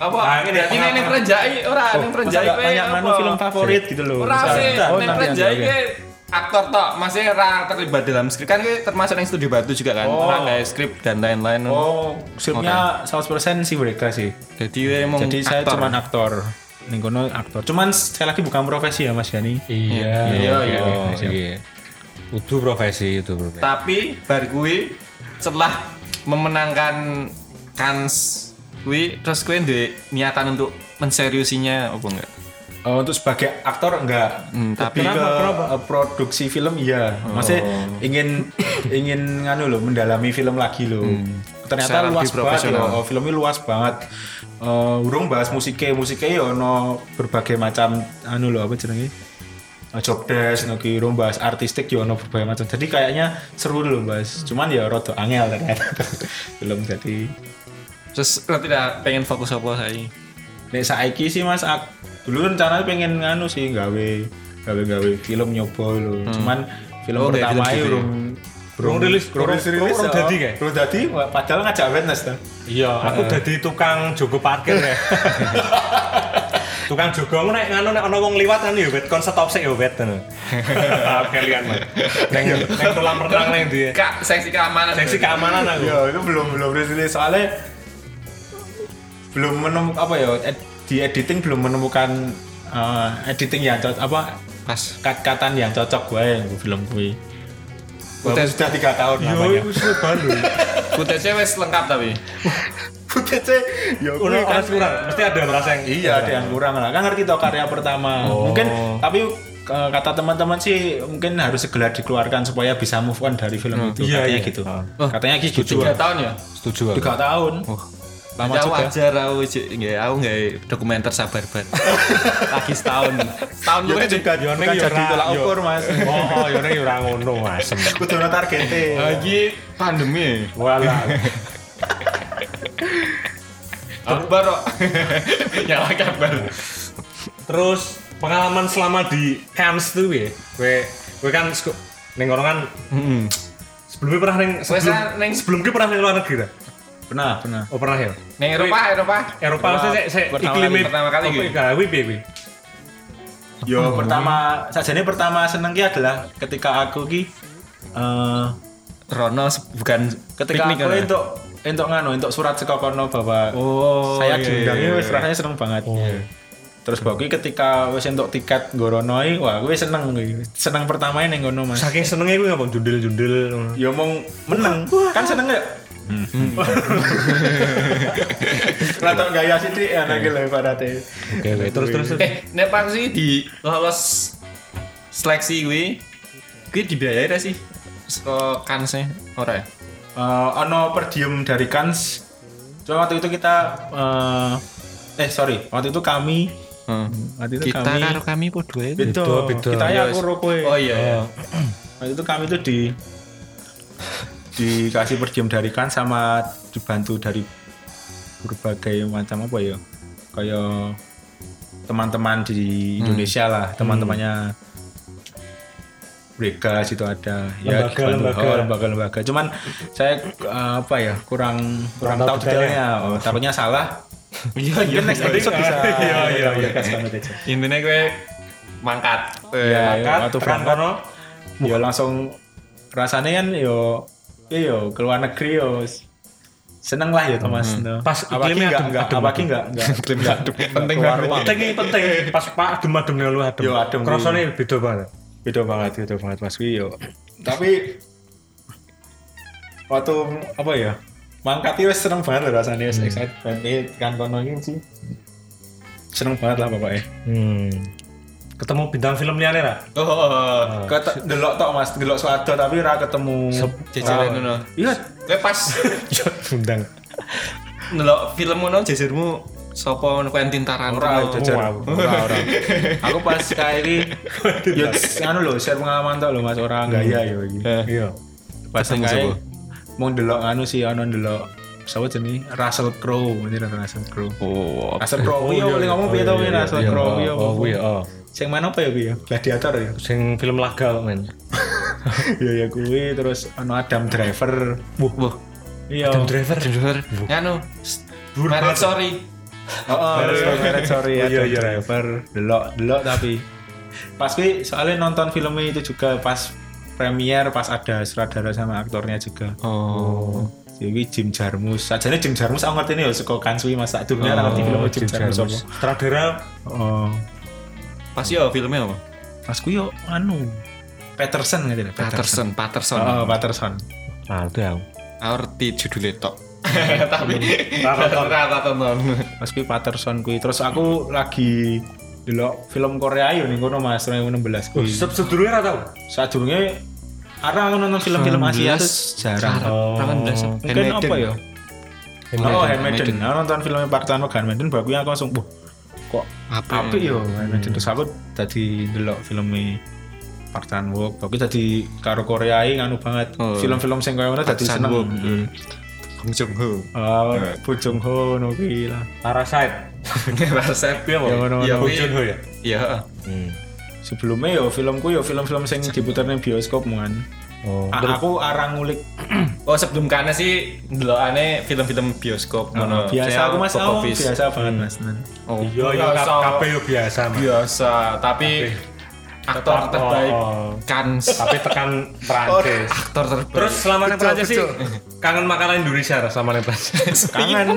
[SPEAKER 1] Apa?
[SPEAKER 2] Nah, ini
[SPEAKER 1] Berarti
[SPEAKER 2] pengalaman.
[SPEAKER 1] ning Prenjai ora ning Prenjai
[SPEAKER 3] Oh, Masa nggak
[SPEAKER 1] kowe
[SPEAKER 3] tanya
[SPEAKER 1] apa?
[SPEAKER 3] mana film favorit gitu loh.
[SPEAKER 1] Ora
[SPEAKER 3] Misalnya.
[SPEAKER 1] sih,
[SPEAKER 2] Oh,
[SPEAKER 1] ning
[SPEAKER 2] nanti,
[SPEAKER 1] Prenjai
[SPEAKER 3] nanti,
[SPEAKER 1] kowe aktor tok, masih ora terlibat dalam skrip kan kowe termasuk yang studio batu juga kan.
[SPEAKER 3] Oh.
[SPEAKER 1] Ora kayak skrip dan lain-lain.
[SPEAKER 3] Oh, scriptnya 100% sih mereka sih.
[SPEAKER 1] Jadi kowe emang
[SPEAKER 3] Jadi saya
[SPEAKER 1] aktor.
[SPEAKER 3] cuman aktor. Ning kono aktor. Cuman sekali lagi bukan profesi ya Mas Yani.
[SPEAKER 2] iya
[SPEAKER 1] Iya, iya,
[SPEAKER 2] oh,
[SPEAKER 3] siap.
[SPEAKER 2] iya itu profesi itu profesi
[SPEAKER 1] tapi bar kui setelah memenangkan kans kui terus kui ndek niatan untuk menseriusinya apa enggak
[SPEAKER 3] Oh, untuk sebagai aktor enggak,
[SPEAKER 1] Hmm,
[SPEAKER 3] tapi
[SPEAKER 1] tapi- Oh.
[SPEAKER 3] ke eh, produksi film iya. Maksudnya ingin ingin nganu loh mendalami film lagi loh. Ternyata
[SPEAKER 1] Hmm. Secara lebih
[SPEAKER 3] luas banget
[SPEAKER 1] profesional.
[SPEAKER 3] loh. Oh, Filmnya luas banget. Eh, urung bahas musiknya, musiknya ya ono berbagai macam anu loh apa jenenge? Eh, job desk, no, ki. urung bahas artistik ya ono berbagai macam. Jadi kayaknya seru loh bahas. Cuman ya rada angel ternyata film jadi
[SPEAKER 1] terus lo tidak pengen fokus apa saya
[SPEAKER 3] Nek saiki sih Mas ak- dulu rencananya pengen nganu sih gawe gawe gawe film nyoba lho. Cuman film
[SPEAKER 1] Oh, nggak film
[SPEAKER 3] pertama ae
[SPEAKER 1] gitu ya?
[SPEAKER 3] urung
[SPEAKER 2] Urung rilis- urung rilis,
[SPEAKER 3] urung
[SPEAKER 2] oh.
[SPEAKER 3] dadi kayak. Urung dadi wah, padahal ngajak witness ta.
[SPEAKER 2] iya aku jadi tukang jogo parkir ya tukang jogo aku nek nganu nek ono wong liwat kan yo wet kon stop sik yo wet ngono kalian mah neng neng tulang renang neng dia
[SPEAKER 1] kak seksi keamanan
[SPEAKER 2] seksi keamanan aku
[SPEAKER 3] Ya itu belum belum rilis soalnya belum menemukan apa ya ed- di editing belum menemukan eh, editing yang cocok apa
[SPEAKER 1] pas
[SPEAKER 3] kat-katan yang cocok gue yang film Iya, gue.
[SPEAKER 1] Udah-
[SPEAKER 3] Udah sudah tiga tahun namanya.
[SPEAKER 2] iku suwe balu
[SPEAKER 1] footage wes lengkap tapi
[SPEAKER 3] Udah ya
[SPEAKER 2] ono ono kurang mesti ada yang merasa yang
[SPEAKER 3] Iya, ada yang kurang lah. Kan ngerti toh karya pertama.
[SPEAKER 2] Oh.
[SPEAKER 3] Mungkin tapi ke- kata teman-teman sih mungkin harus segera dikeluarkan supaya bisa move on dari film itu
[SPEAKER 2] Iya,
[SPEAKER 3] katanya
[SPEAKER 2] iya.
[SPEAKER 3] gitu
[SPEAKER 2] Ah.
[SPEAKER 3] katanya gitu
[SPEAKER 1] tiga tahun ya
[SPEAKER 2] Setuju aku.
[SPEAKER 3] tiga tahun
[SPEAKER 1] Lama
[SPEAKER 3] lama
[SPEAKER 1] ya. aku
[SPEAKER 3] juga
[SPEAKER 1] ajar aku cik. nggak aku nggak dokumenter sabar banget. Lagi setahun. Tahun
[SPEAKER 3] Yone
[SPEAKER 1] luwe
[SPEAKER 2] Iya,
[SPEAKER 3] juga Yone
[SPEAKER 2] Bukan
[SPEAKER 3] jadi tolak
[SPEAKER 2] yo-
[SPEAKER 3] ukur mas
[SPEAKER 2] Oh, ya oh, yo nek ora ngono Mas.
[SPEAKER 3] kudu ono targete
[SPEAKER 1] lagi pandemi.
[SPEAKER 2] Walah.
[SPEAKER 1] Akbar kok. Ya lagi akbar.
[SPEAKER 2] Terus pengalaman selama di camps tuh ya. Kowe kowe kan sku- ning kono kan sebelumnya pernah ning
[SPEAKER 1] Wes
[SPEAKER 2] sebelum,
[SPEAKER 1] lah, ning-
[SPEAKER 2] sebelum ki pernah ning luar negeri ra?
[SPEAKER 3] pernah pernah
[SPEAKER 2] Oh, pernah ya.
[SPEAKER 1] Neng Eropa, Eropa.
[SPEAKER 2] Eropa maksudnya saya saya
[SPEAKER 1] Pertama kali-
[SPEAKER 2] iklime
[SPEAKER 1] pertama kali
[SPEAKER 2] Oke,
[SPEAKER 1] gitu.
[SPEAKER 2] gak, kuwi piye kuwi?
[SPEAKER 3] Yo pertama sajane pertama seneng ki adalah ketika aku ki eh,
[SPEAKER 1] Rono se- bukan
[SPEAKER 3] ketika
[SPEAKER 1] piknik
[SPEAKER 3] aku
[SPEAKER 1] kan?
[SPEAKER 3] entuk entuk nganu entuk surat saka kono bahwa
[SPEAKER 1] Oh,
[SPEAKER 3] saya
[SPEAKER 1] iya,
[SPEAKER 3] diundang
[SPEAKER 1] iya,
[SPEAKER 3] itu
[SPEAKER 1] iya.
[SPEAKER 3] rasanya seneng banget. Terus baku ketika wis entuk tiket ngorono iki, wah gue seneng gue. Seneng pertamanya ning ngono Mas.
[SPEAKER 2] Saking senengnya kuwi ngapa jundel-jundel. ngono.
[SPEAKER 3] Ya mong meneng. Kan seneng ya.
[SPEAKER 1] Hmm.
[SPEAKER 3] Latok gaya sithik ana iki lho ibarate.
[SPEAKER 2] Oke, oke. Terus terus. terus.
[SPEAKER 1] Eh, nek pasti di lolos seleksi gue, gue dibiayai ra sih? Seko kansnya ora ya?
[SPEAKER 3] Eh, ono per diem dari Kans. Cuma waktu itu kita eh eh sorry, waktu itu kami waktu itu
[SPEAKER 1] Kita
[SPEAKER 3] kami
[SPEAKER 1] karo kami podo ae.
[SPEAKER 3] Beda,
[SPEAKER 2] Beda, beda.
[SPEAKER 3] Kita ya
[SPEAKER 1] Yes.
[SPEAKER 3] aku rokok.
[SPEAKER 1] Oh iya. iya.
[SPEAKER 3] Waktu Nah, itu kami tuh di dikasih per diem dari kan sama dibantu dari berbagai macam apa ya kayak teman-teman di Indonesia lah teman-temannya mereka situ ada
[SPEAKER 2] Lembaga,
[SPEAKER 3] dibantu-
[SPEAKER 2] lembaga.
[SPEAKER 3] oh, lembaga-lembaga cuman saya eh, apa ya kurang kurang
[SPEAKER 2] tahu
[SPEAKER 3] tahu detailnya oh, taruhnya salah
[SPEAKER 1] Iya, iya.
[SPEAKER 3] mungkin next episode bisa
[SPEAKER 2] Iya, iya, iya.
[SPEAKER 3] Podcast banget aja.
[SPEAKER 1] Intinya gue mangkat.
[SPEAKER 3] Ya,
[SPEAKER 1] Eh,
[SPEAKER 2] Kan
[SPEAKER 3] waktu
[SPEAKER 2] tekan
[SPEAKER 3] berangkat.
[SPEAKER 2] kono.
[SPEAKER 3] ya langsung rasanya kan yo iya yo keluar negeri yo seneng lah ya Thomas
[SPEAKER 2] Hmm.
[SPEAKER 3] no.
[SPEAKER 2] Pas iklimnya
[SPEAKER 3] enggak
[SPEAKER 2] adem,
[SPEAKER 3] enggak
[SPEAKER 2] adem,
[SPEAKER 3] apalagi enggak enggak iklim adem penting keluar ruang
[SPEAKER 2] Penting ini penting. Pas pak adem adem yang lu adem.
[SPEAKER 3] Yo, adem.
[SPEAKER 2] Kerasane beda banget.
[SPEAKER 3] beda banget beda banget Mas Wi yo tapi waktu apa ya mangkat itu seneng banget loh rasanya
[SPEAKER 2] Hmm.
[SPEAKER 3] wis excited banget Ini kan kono ini sih seneng banget lah pokoknya
[SPEAKER 2] Hmm. Ketemu bintang film liane ra?
[SPEAKER 1] Oh, oh, oh.
[SPEAKER 3] Ket- delok tok mas delok suatu tapi ra ketemu
[SPEAKER 1] Jajaran
[SPEAKER 3] Ra-
[SPEAKER 1] ngono.
[SPEAKER 3] iya
[SPEAKER 1] Gue pas
[SPEAKER 2] Bintang.
[SPEAKER 1] ndelok film ngono jajarmu sapa Quentin
[SPEAKER 3] Ora
[SPEAKER 1] Tarantino.
[SPEAKER 3] jajar.
[SPEAKER 2] Wow.
[SPEAKER 3] Ora ora. kan Aku pas kayak ini yo anu lho share pengalaman tok lho Mas ora
[SPEAKER 2] Hmm.
[SPEAKER 3] gaya yo iki.
[SPEAKER 2] Iya.
[SPEAKER 3] Eh, Pas
[SPEAKER 1] Ketemu
[SPEAKER 3] kayak
[SPEAKER 1] sapa?
[SPEAKER 3] mau delok anu sih ono delok sapa jenenge Russell Crowe, ini Russell Crowe.
[SPEAKER 1] Oh,
[SPEAKER 3] Russell Crowe
[SPEAKER 2] iya.
[SPEAKER 3] kuwi iya, boleh ngomong piye to kuwi Russell Crowe kuwi apa?
[SPEAKER 2] Oh iya. oh.
[SPEAKER 3] Sing main apa ya kuwi ya? Gladiator ya.
[SPEAKER 2] Sing film laga kok, men.
[SPEAKER 3] Ya ya kuwi terus ono Adam Driver.
[SPEAKER 1] Wah, wah.
[SPEAKER 3] Iya.
[SPEAKER 2] Adam Driver.
[SPEAKER 1] Jujur. Nganu. Marriage sorry.
[SPEAKER 3] Oh,
[SPEAKER 2] iya.
[SPEAKER 3] sorry, sorry
[SPEAKER 2] Oh, iya,
[SPEAKER 3] ya. Iya,
[SPEAKER 2] iya.
[SPEAKER 3] Driver, delok, delok tapi pas gue soalnya nonton filmnya itu juga pas premier pas ada sutradara sama aktornya juga.
[SPEAKER 1] Oh.
[SPEAKER 3] Jadi Jim Jarmus, sajane Jim Jarmus aku ngerti nih ya suka kansui mas tak dunia oh, ngerti film Jim Jarmus apa.
[SPEAKER 2] Sutradara
[SPEAKER 3] Oh,
[SPEAKER 1] Pas yo filmnya apa?
[SPEAKER 3] pas gue yo anu Patterson ngerti nih.
[SPEAKER 1] Patterson, Patterson.
[SPEAKER 3] Oh, Patterson.
[SPEAKER 2] Nah, itu aku.
[SPEAKER 1] Arti judulnya tok. Tapi
[SPEAKER 2] Ra tonton.
[SPEAKER 1] rata tonton.
[SPEAKER 3] Mas gue Patterson kui. Terus aku lagi delok film Korea yo ning kono Mas 2016 kui.
[SPEAKER 2] Sep sedurunge ra tau.
[SPEAKER 3] sadurunge arah aku nonton film-film Asia tuh jarang.
[SPEAKER 2] Oh.
[SPEAKER 3] Mungkin apa ya? Oh, Handmaiden.
[SPEAKER 1] Handmaiden.
[SPEAKER 3] Aku nonton filmnya Park Chan Wook Handmaiden bagus aku langsung "Wah, kok
[SPEAKER 1] Apa?
[SPEAKER 3] apik yo Handmaiden terus aku tadi ndelok filmnya Park Chan Wook. Bagus tadi karo Korea ini nganu banget.
[SPEAKER 1] Oh.
[SPEAKER 3] Film-film sing koyo ngono dadi
[SPEAKER 1] Chan
[SPEAKER 3] seneng.
[SPEAKER 1] Wook.
[SPEAKER 3] Hmm.
[SPEAKER 1] Bong Joon Ho.
[SPEAKER 3] Oh, Bu Jung Ho ngono kuwi lah.
[SPEAKER 2] Parasite.
[SPEAKER 1] Resep ya,
[SPEAKER 2] Iya,
[SPEAKER 3] Ya, ngono-ngono.
[SPEAKER 1] Ya,
[SPEAKER 2] Bong Joon Ho ya?
[SPEAKER 1] Iya.
[SPEAKER 2] Hmm.
[SPEAKER 3] Sebelumnya yo filmku yo film-film sing diputer ning bioskop kan.
[SPEAKER 2] Oh.
[SPEAKER 3] Aku arang ngulik
[SPEAKER 1] Oh sebelum kana sih ndelokane film-film bioskop ngono. Saya
[SPEAKER 3] Ah, biasa aku Mas, aku
[SPEAKER 1] Popovis.
[SPEAKER 3] biasa banget Mas.
[SPEAKER 1] Oh,
[SPEAKER 2] Iya, iya
[SPEAKER 1] biasa.
[SPEAKER 2] kabeh yo biasa. Mas.
[SPEAKER 1] biasa, tapi aktor
[SPEAKER 2] Tetap,
[SPEAKER 1] terbaik
[SPEAKER 2] oh.
[SPEAKER 1] Kans.
[SPEAKER 2] Tapi tekan Perancis.
[SPEAKER 1] aktor terbaik.
[SPEAKER 2] Terus selama nang
[SPEAKER 1] Betul,
[SPEAKER 2] Perancis sih
[SPEAKER 1] betul.
[SPEAKER 2] kangen makanan Indonesia ra sama nang Perancis.
[SPEAKER 3] Kangen.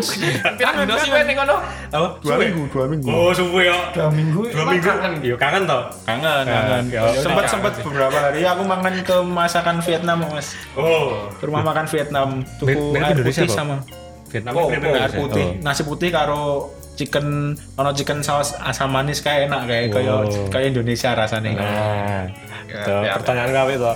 [SPEAKER 1] kangen sih wae ning ngono.
[SPEAKER 3] Apa? Dua
[SPEAKER 2] Suwe?
[SPEAKER 3] minggu, dua minggu.
[SPEAKER 2] Oh, suwe yo.
[SPEAKER 1] Dua minggu,
[SPEAKER 2] Dua minggu. Yo kangen to. Kangen.
[SPEAKER 3] Kangen, kangen.
[SPEAKER 2] Ya, udah,
[SPEAKER 3] Sempat
[SPEAKER 2] kangen
[SPEAKER 3] sempat beberapa hari aku makan ke masakan Vietnam, Mas.
[SPEAKER 2] Oh.
[SPEAKER 3] Ke rumah makan Vietnam,
[SPEAKER 2] Mir-
[SPEAKER 3] tuku
[SPEAKER 2] mirip
[SPEAKER 3] air
[SPEAKER 2] Indonesia
[SPEAKER 3] putih
[SPEAKER 2] kok.
[SPEAKER 3] sama
[SPEAKER 2] Vietnam
[SPEAKER 1] Oh,
[SPEAKER 2] mirip
[SPEAKER 1] oh,
[SPEAKER 2] Indonesia.
[SPEAKER 3] air putih, nasi putih karo chicken ono chicken saus asam manis kayak enak kayak kayak
[SPEAKER 2] Wow.
[SPEAKER 3] kayak Indonesia rasanya
[SPEAKER 2] Nah,
[SPEAKER 1] Ya,
[SPEAKER 2] tuh,
[SPEAKER 1] ya, ya.
[SPEAKER 2] pertanyaan kamu itu.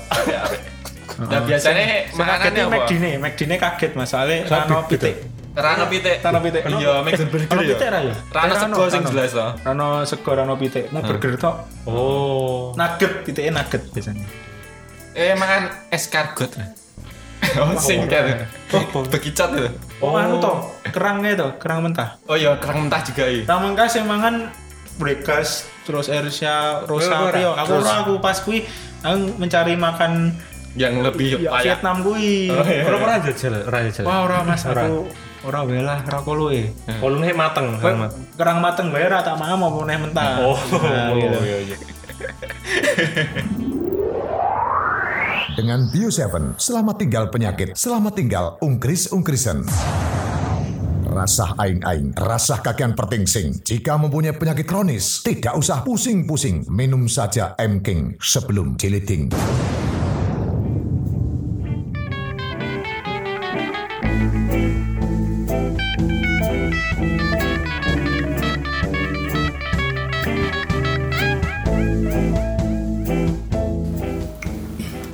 [SPEAKER 1] Nah, biasanya makanannya
[SPEAKER 3] Makanannya
[SPEAKER 1] apa?
[SPEAKER 3] McD nih, McD nih kaget mas,
[SPEAKER 2] Soalnya
[SPEAKER 3] soalnya
[SPEAKER 2] gitu big-
[SPEAKER 3] rano
[SPEAKER 2] beda.
[SPEAKER 3] pitik
[SPEAKER 1] Rano pitik.
[SPEAKER 3] Rano pitik
[SPEAKER 1] Iya, Maxon Burger
[SPEAKER 3] Rano
[SPEAKER 1] ya.
[SPEAKER 3] pitik ra ya?
[SPEAKER 1] Rano
[SPEAKER 3] Eh,
[SPEAKER 1] sego sing jelas
[SPEAKER 2] ya?
[SPEAKER 1] to.
[SPEAKER 3] Rano sego, rano pitik Mau
[SPEAKER 2] Nah.
[SPEAKER 3] burger tok
[SPEAKER 2] Oh,
[SPEAKER 3] Nugget, pitiknya nugget biasanya
[SPEAKER 1] Eh makan escargot. Oh, sing kan.
[SPEAKER 2] Apa?
[SPEAKER 1] Bekicat itu.
[SPEAKER 3] Oh,
[SPEAKER 2] Oh.
[SPEAKER 3] anu toh, kerangnya toh, kerang mentah
[SPEAKER 1] ya? Oh iya, kerang mentah juga iya.
[SPEAKER 3] Nah mengkas yang mangan Brekas, terus Ersia, Rosario
[SPEAKER 2] Ora.
[SPEAKER 3] Aku ora, aku pas kui Aku mencari makan
[SPEAKER 1] Yang lebih
[SPEAKER 3] ya,
[SPEAKER 1] layak.
[SPEAKER 3] Vietnam kui
[SPEAKER 1] Iya, Oh, iya.
[SPEAKER 2] kalau pernah jajal, pernah jajal.
[SPEAKER 3] Wah ora mas,
[SPEAKER 2] Ora.
[SPEAKER 3] aku Ora bela, ora kolue
[SPEAKER 2] Kalau nih mateng, sama.
[SPEAKER 3] Kerang mateng gue ora tak mau mau neh mentah
[SPEAKER 2] Oh,
[SPEAKER 3] Nah, gitu.
[SPEAKER 2] iya, iya.
[SPEAKER 4] Dengan Bio7, selamat tinggal penyakit, selamat tinggal ungkris-ungkrisan. Rasah aing-aing, rasah kakian pertingsing. Jika mempunyai penyakit kronis, tidak usah pusing-pusing. Minum saja M-King sebelum jiliding.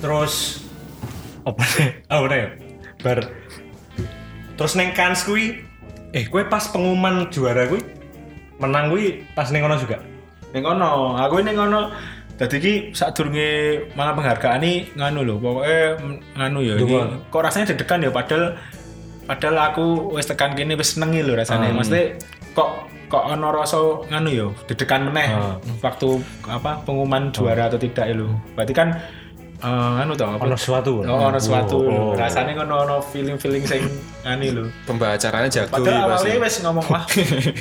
[SPEAKER 2] Terus apa nih? Oh, nih. Bar. Terus neng kans kui, eh kue pas pengumuman juara kui menang kui pas neng kono juga.
[SPEAKER 3] Ning kono, aku ning kono dadi iki sadurunge malah penghargaan ini nganu lho, pokoknya mm, nganu ya iki.
[SPEAKER 2] Dungo.
[SPEAKER 3] Kok rasanya deg-degan ya padahal padahal aku wis tekan kene wis senengi lho
[SPEAKER 2] Hmm.
[SPEAKER 3] rasanya. Maksudnya kok kok ono rasa nganu ya deg-degan meneh
[SPEAKER 2] Ah.
[SPEAKER 3] waktu apa pengumuman juara atau tidak ya lho. Berarti kan eh, nganu to apa?
[SPEAKER 2] Ono sesuatu.
[SPEAKER 3] Oh, ono suatu
[SPEAKER 2] Oh,
[SPEAKER 3] lho.
[SPEAKER 2] oh.
[SPEAKER 3] Rasanya ngono ono feeling-feeling sing ngani lho.
[SPEAKER 1] Pembacaranya jago iya pasti.
[SPEAKER 3] Padahal awalnya wes ngomong wah,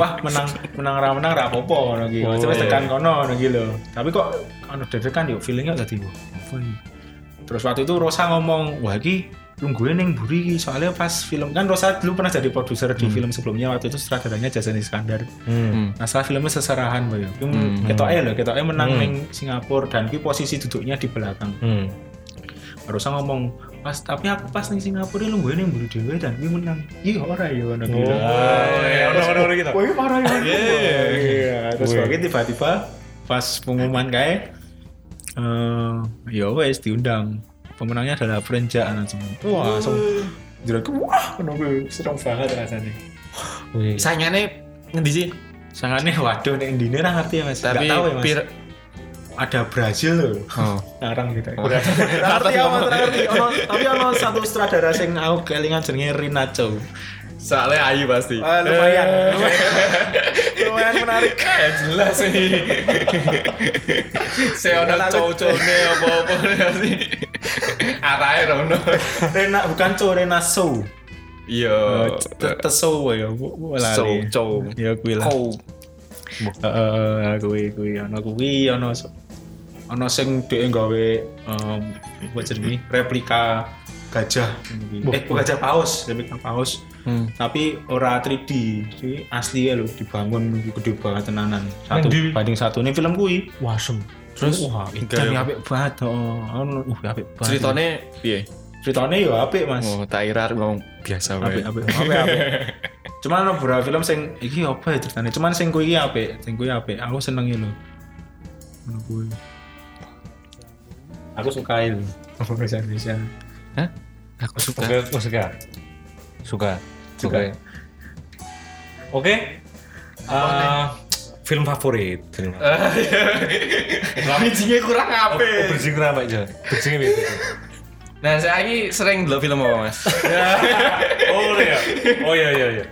[SPEAKER 3] wah menang menang ra menang ra apa-apa ngono iki.
[SPEAKER 2] Oh,
[SPEAKER 3] Wes wes
[SPEAKER 2] iya.
[SPEAKER 3] tekan kono ngono iki lho. Tapi kok anu deg-degan yo feelingnya tadi wah, apa ini? Terus waktu itu Rosa ngomong, wah iki tungguin yang buri iki soalnya pas film kan Rosa dulu pernah jadi produser di film sebelumnya waktu itu sutradaranya Jason Iskandar.
[SPEAKER 2] Hmm.
[SPEAKER 3] Nah setelah filmnya seserahan boyo. Hmm. Ketoknya lho, ketoknya menang ning Singapura dan ki posisi duduknya di belakang.
[SPEAKER 2] Hmm.
[SPEAKER 3] Rosa ngomong pas tapi aku pas ning Singapura nungguin yang buri dhewe dan ki menang. Iya ora ya ngono iki lho.
[SPEAKER 2] ya ono ono ono gitu.
[SPEAKER 3] Wah, ini parah ya. Iya, terus
[SPEAKER 2] Wih.
[SPEAKER 3] pagi tiba-tiba pas pengumuman kayak eh ya wes diundang. Pemenangnya adalah Perenja langsung. Wah, langsung jadi wah, menunggu serem banget rasanya.
[SPEAKER 2] Wih.
[SPEAKER 1] Saingannya ngendi sih?
[SPEAKER 3] Sangatnya waduh nek ndine ra ngerti ya Mas.
[SPEAKER 1] Tapi
[SPEAKER 3] Nggak tahu ya Mas.
[SPEAKER 1] pir
[SPEAKER 3] Ada Brazil loh.
[SPEAKER 1] Oh.
[SPEAKER 3] Narang gitu. Nggak ngerti ya Mas, nggak ngerti. Ono- Tapi ono satu sutradara sing aku kelingan jenenge Rinacho.
[SPEAKER 1] Soalnya ayu pasti.
[SPEAKER 3] Wah, lumayan. Lumayan menarik.
[SPEAKER 1] Eh, jelas sih. Saya ono cowok-cowoknya apa-apa sih. Arahnya Rono.
[SPEAKER 3] Rena bukan Cho, Rena Show.
[SPEAKER 1] Iya.
[SPEAKER 3] Oh, Te- teso ya bu- bu- lali.
[SPEAKER 1] So, cow.
[SPEAKER 3] ya kuwi lah
[SPEAKER 1] Kau.
[SPEAKER 3] heeh kuwi kuwi ana kuwi ana s- ana sing dhek gawe em apa jenenge replika gajah eh bukan gajah paus Hmm. replika paus tapi ora 3D jadi asli ya lho dibangun gede banget tenanan
[SPEAKER 2] Nang
[SPEAKER 3] satu
[SPEAKER 2] ndi?
[SPEAKER 3] banding satu ini film kuwi
[SPEAKER 2] Wah, sem.
[SPEAKER 3] terus wah iya.
[SPEAKER 1] gaya.
[SPEAKER 3] ini apik banget oh Ono, uh apik banget
[SPEAKER 1] Ceritanya piye?
[SPEAKER 3] ceritane ya apik mas
[SPEAKER 1] Oh, tak kira aku ngomong biasa wae.
[SPEAKER 3] apik apik apik apik cuman ada beberapa film sing iki apa ya ceritanya cuman sing kuwi iki apik sing kuwi apik aku seneng lho Ngono kuwi aku suka lho bahasa Indonesia
[SPEAKER 1] Hah? Aku suka.
[SPEAKER 2] Oke, aku suka. Suka.
[SPEAKER 3] Suka.
[SPEAKER 2] Oke. Oke. Eh, film favorit. Film
[SPEAKER 3] Eh,
[SPEAKER 2] favorit.
[SPEAKER 1] Bijinya kurang apa?
[SPEAKER 2] Oh, berjing kenapa, Jel? Berjing ini.
[SPEAKER 1] Nah, saya ini sering dulu film apa, Mas?
[SPEAKER 2] Oh iya. Oh iya iya iya.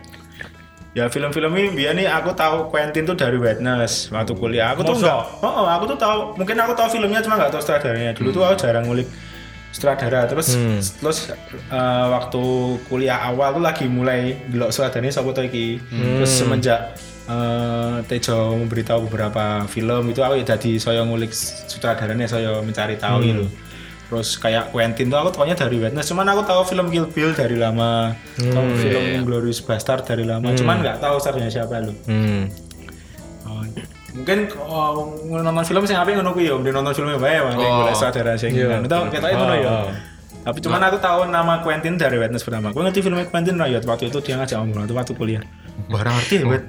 [SPEAKER 3] ya film-film ini biar nih aku tahu Quentin tuh dari Witness waktu kuliah aku tuh
[SPEAKER 2] Masa?
[SPEAKER 3] enggak oh, oh, aku tuh tahu mungkin aku tahu filmnya cuma enggak tahu sutradaranya dulu tuh aku jarang ngulik sutradara terus
[SPEAKER 2] Hmm.
[SPEAKER 3] terus eh, waktu kuliah awal tuh lagi mulai delok sutradaranya sapa to iki terus semenjak eh, Tejo memberitahu beberapa film itu aku ya jadi saya ngulik sutradaranya saya mencari tahu gitu terus kayak Quentin tuh aku taunya dari Witness cuman aku tahu film Kill Bill dari lama tahu film Glorious Bastard dari lama cuman nggak tahu starnya siapa lu
[SPEAKER 2] Hmm.
[SPEAKER 3] Oh, mungkin oh, nonton film sing apa yang ngono kuwi ya, mending nonton filmnya bae Bang. Ning
[SPEAKER 1] Oh.
[SPEAKER 3] golek saudara sing ngono. Tau ketoknya ngono ya.
[SPEAKER 2] Oh.
[SPEAKER 3] Tapi cuman aku tahu nama Quentin dari Witness pertama. Gue ngerti filmnya Quentin Royot waktu itu dia ngajak ngomong waktu waktu kuliah. Barang ngerti ya, Bet.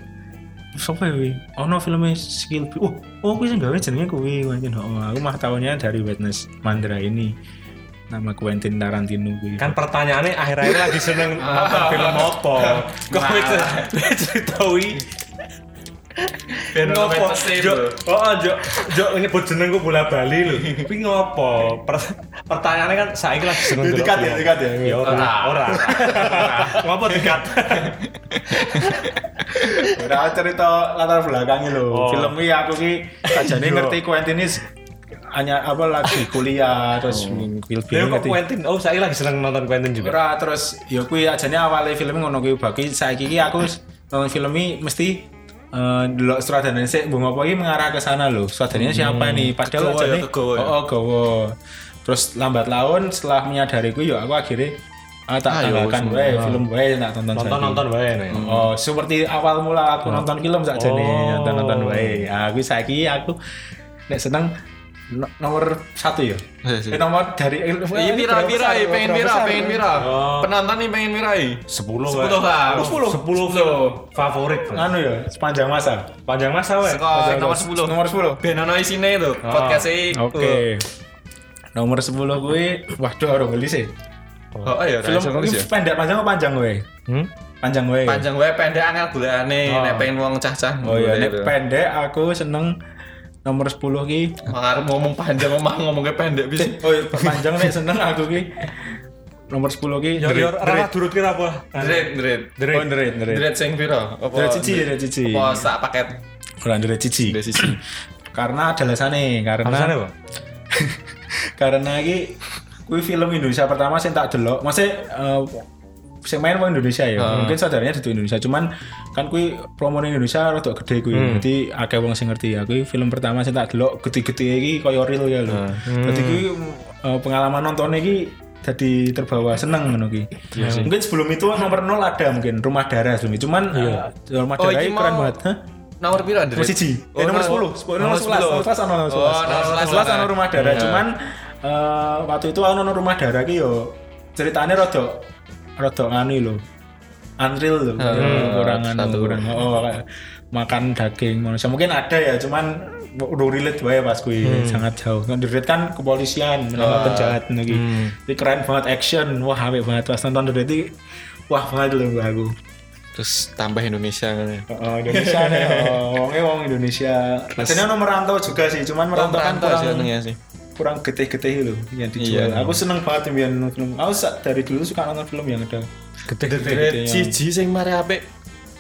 [SPEAKER 3] Sopo ya kuwi? Ono filmnya Skill B. Oh, oh kuwi sing gawe jenenge kuwi Quentin Oh, aku mah taunya dari Witness Mandra ini. Nama Quentin Tarantino kuwi.
[SPEAKER 2] kan pertanyaannya akhir-akhir lagi seneng
[SPEAKER 3] Ah.
[SPEAKER 2] nonton film apa kok
[SPEAKER 3] Nah.
[SPEAKER 2] itu ceritawi
[SPEAKER 1] Ben
[SPEAKER 2] ngopo
[SPEAKER 1] Rowe pesen,
[SPEAKER 2] jo
[SPEAKER 1] bro.
[SPEAKER 2] oh jo jo nyebut jenengku bola bali lho tapi ngopo Per- pertanyaannya kan saiki lagi seneng
[SPEAKER 3] Dikat ya, dikat ya?
[SPEAKER 2] ya ora
[SPEAKER 1] Ora.
[SPEAKER 2] ora ngopo dekat
[SPEAKER 3] Ora Ya cerita latar belakangnya lho.
[SPEAKER 2] Oh.
[SPEAKER 3] Film iki aku ki sajane
[SPEAKER 2] Iya.
[SPEAKER 3] ngerti Quentin ini s- hanya apa lagi kuliah terus film
[SPEAKER 2] Lha
[SPEAKER 3] film
[SPEAKER 2] kok
[SPEAKER 3] ngerti.
[SPEAKER 2] Quentin oh saiki lagi seneng nonton Quentin juga
[SPEAKER 3] Ora terus ya kuwi ajane awale film ngono kuwi bagi saiki ki aku s- nonton film iki mesti eh delok sutradarane sik mbung apa iki mengarah ke sana lho. Sutradaranya siapa nih? Padahal
[SPEAKER 1] Kegowo ya,
[SPEAKER 3] ajane
[SPEAKER 1] kegowo ya.
[SPEAKER 3] Oh, oh, gowo. Terus lambat laun setelah menyadari kuwi ya aku akhirnya ah, tak
[SPEAKER 1] Ayo,
[SPEAKER 3] tanggalkan wae film wae tak tonton
[SPEAKER 2] nonton
[SPEAKER 3] saiki.
[SPEAKER 2] nonton wae nih
[SPEAKER 3] Oh, seperti awal mula aku nonton film saja nih,
[SPEAKER 2] Oh.
[SPEAKER 3] nonton nonton wae. Aku saiki aku nek seneng no- nomor satu ya.
[SPEAKER 1] Iya, iya.
[SPEAKER 3] Eh, nomor dari eh,
[SPEAKER 1] Iya pira
[SPEAKER 3] berapa
[SPEAKER 1] pira,
[SPEAKER 3] besar,
[SPEAKER 1] iya,
[SPEAKER 3] berapa
[SPEAKER 1] pengen pira,
[SPEAKER 3] besar?
[SPEAKER 1] pengen pira.
[SPEAKER 2] Oh.
[SPEAKER 1] Penonton nih pengen pira. iya.
[SPEAKER 2] sepuluh
[SPEAKER 1] Sepuluh, Kak.
[SPEAKER 2] sepuluh sepuluh film favorit Bro.
[SPEAKER 3] Anu ya, sepanjang masa.
[SPEAKER 2] panjang masa wae
[SPEAKER 1] Sekoi nomor 10.
[SPEAKER 3] Nomor 10.
[SPEAKER 1] Ben ono isine itu podcast e.
[SPEAKER 3] Oke. Nomor 10 gue, waduh orang beli sih.
[SPEAKER 1] Oh iya,
[SPEAKER 3] Film
[SPEAKER 1] film
[SPEAKER 3] ini pendek panjang apa panjang gue?
[SPEAKER 2] hmm?
[SPEAKER 3] Panjang gue.
[SPEAKER 1] panjang wae pendek angel gulane
[SPEAKER 3] Iya. Oh.
[SPEAKER 1] nek pengen wong cah-cah.
[SPEAKER 3] Oh iya,
[SPEAKER 1] gulane
[SPEAKER 3] nek
[SPEAKER 1] itu.
[SPEAKER 3] pendek aku seneng nomor 10 ki.
[SPEAKER 1] Wong arep ngomong panjang omah ngomongnya pendek bis.
[SPEAKER 3] Oh iya, panjang nek seneng aku ki. Nomor 10 ki.
[SPEAKER 2] yo yo ora Ya, durut kira apa
[SPEAKER 3] Nah.
[SPEAKER 1] Dret dret.
[SPEAKER 2] Dre.
[SPEAKER 3] Oh, nderit, nderit.
[SPEAKER 1] Dret sing pira? Apa?
[SPEAKER 3] Dret siji, dret siji.
[SPEAKER 1] Apa sak paket?
[SPEAKER 3] Grandere cici.
[SPEAKER 1] Dret siji.
[SPEAKER 3] Karena ada
[SPEAKER 2] alasannya
[SPEAKER 3] alasannya, karena
[SPEAKER 2] apa
[SPEAKER 3] karena iki kuwi film Indonesia pertama sing tak delok. Masih eh sing main wong Indonesia ya. Mungkin saudaranya itu Indonesia, cuman kan kuwi promo ning Indonesia rada gede
[SPEAKER 1] Hmm.
[SPEAKER 3] kuwi. Jadi akeh wong sing ngerti ya. Kuwi film pertama sing tak delok gede-gede iki koyo real ya lho.
[SPEAKER 1] Hmm.
[SPEAKER 3] Dadi kuwi eh, pengalaman nontonnya iki jadi terbawa seneng ngono ki.
[SPEAKER 1] Iya
[SPEAKER 3] mungkin sebelum itu nomor 0 ada mungkin rumah darah sebelum itu. Cuman eh, rumah
[SPEAKER 1] Oh,
[SPEAKER 3] darah
[SPEAKER 1] iki
[SPEAKER 3] iki keren
[SPEAKER 1] mau-
[SPEAKER 3] banget. Hah?
[SPEAKER 1] Nomor pira Dret?
[SPEAKER 3] Nomor siji. Eh, nomor 10. Sepuluh- Nomor 11. Nomor 11 ono nomor
[SPEAKER 1] Oh, nomor
[SPEAKER 3] 11. Nomor
[SPEAKER 1] 11
[SPEAKER 3] 11 ono rumah darah. Cuman eh, waktu itu ono ono rumah darah ki yo ceritane rada rada nganu lho. Unreal lho. Kurang anu kurang. Oh, kayak makan daging manusia mungkin ada ya cuman udah relate wae pas kui sangat jauh kan relate kan kepolisian menolak penjahat lagi Ini keren banget action wah apik banget pas nonton The Raid iki, wah banget lho aku
[SPEAKER 1] Terus tambah Indonesia ngene.
[SPEAKER 3] Oh, Indonesia nih, oh, wongnya wong Indonesia. Rasanya ono merantau juga sih, cuman merantau kan
[SPEAKER 1] Rantau sih
[SPEAKER 3] kurang
[SPEAKER 1] jenenge sih.
[SPEAKER 3] kurang getih-getih loh yang dijual.
[SPEAKER 1] Iya.
[SPEAKER 3] Aku seneng banget yang film. Aku sa- dari dulu suka nonton film yang ada.
[SPEAKER 1] Dret iya. siji sing mari apik.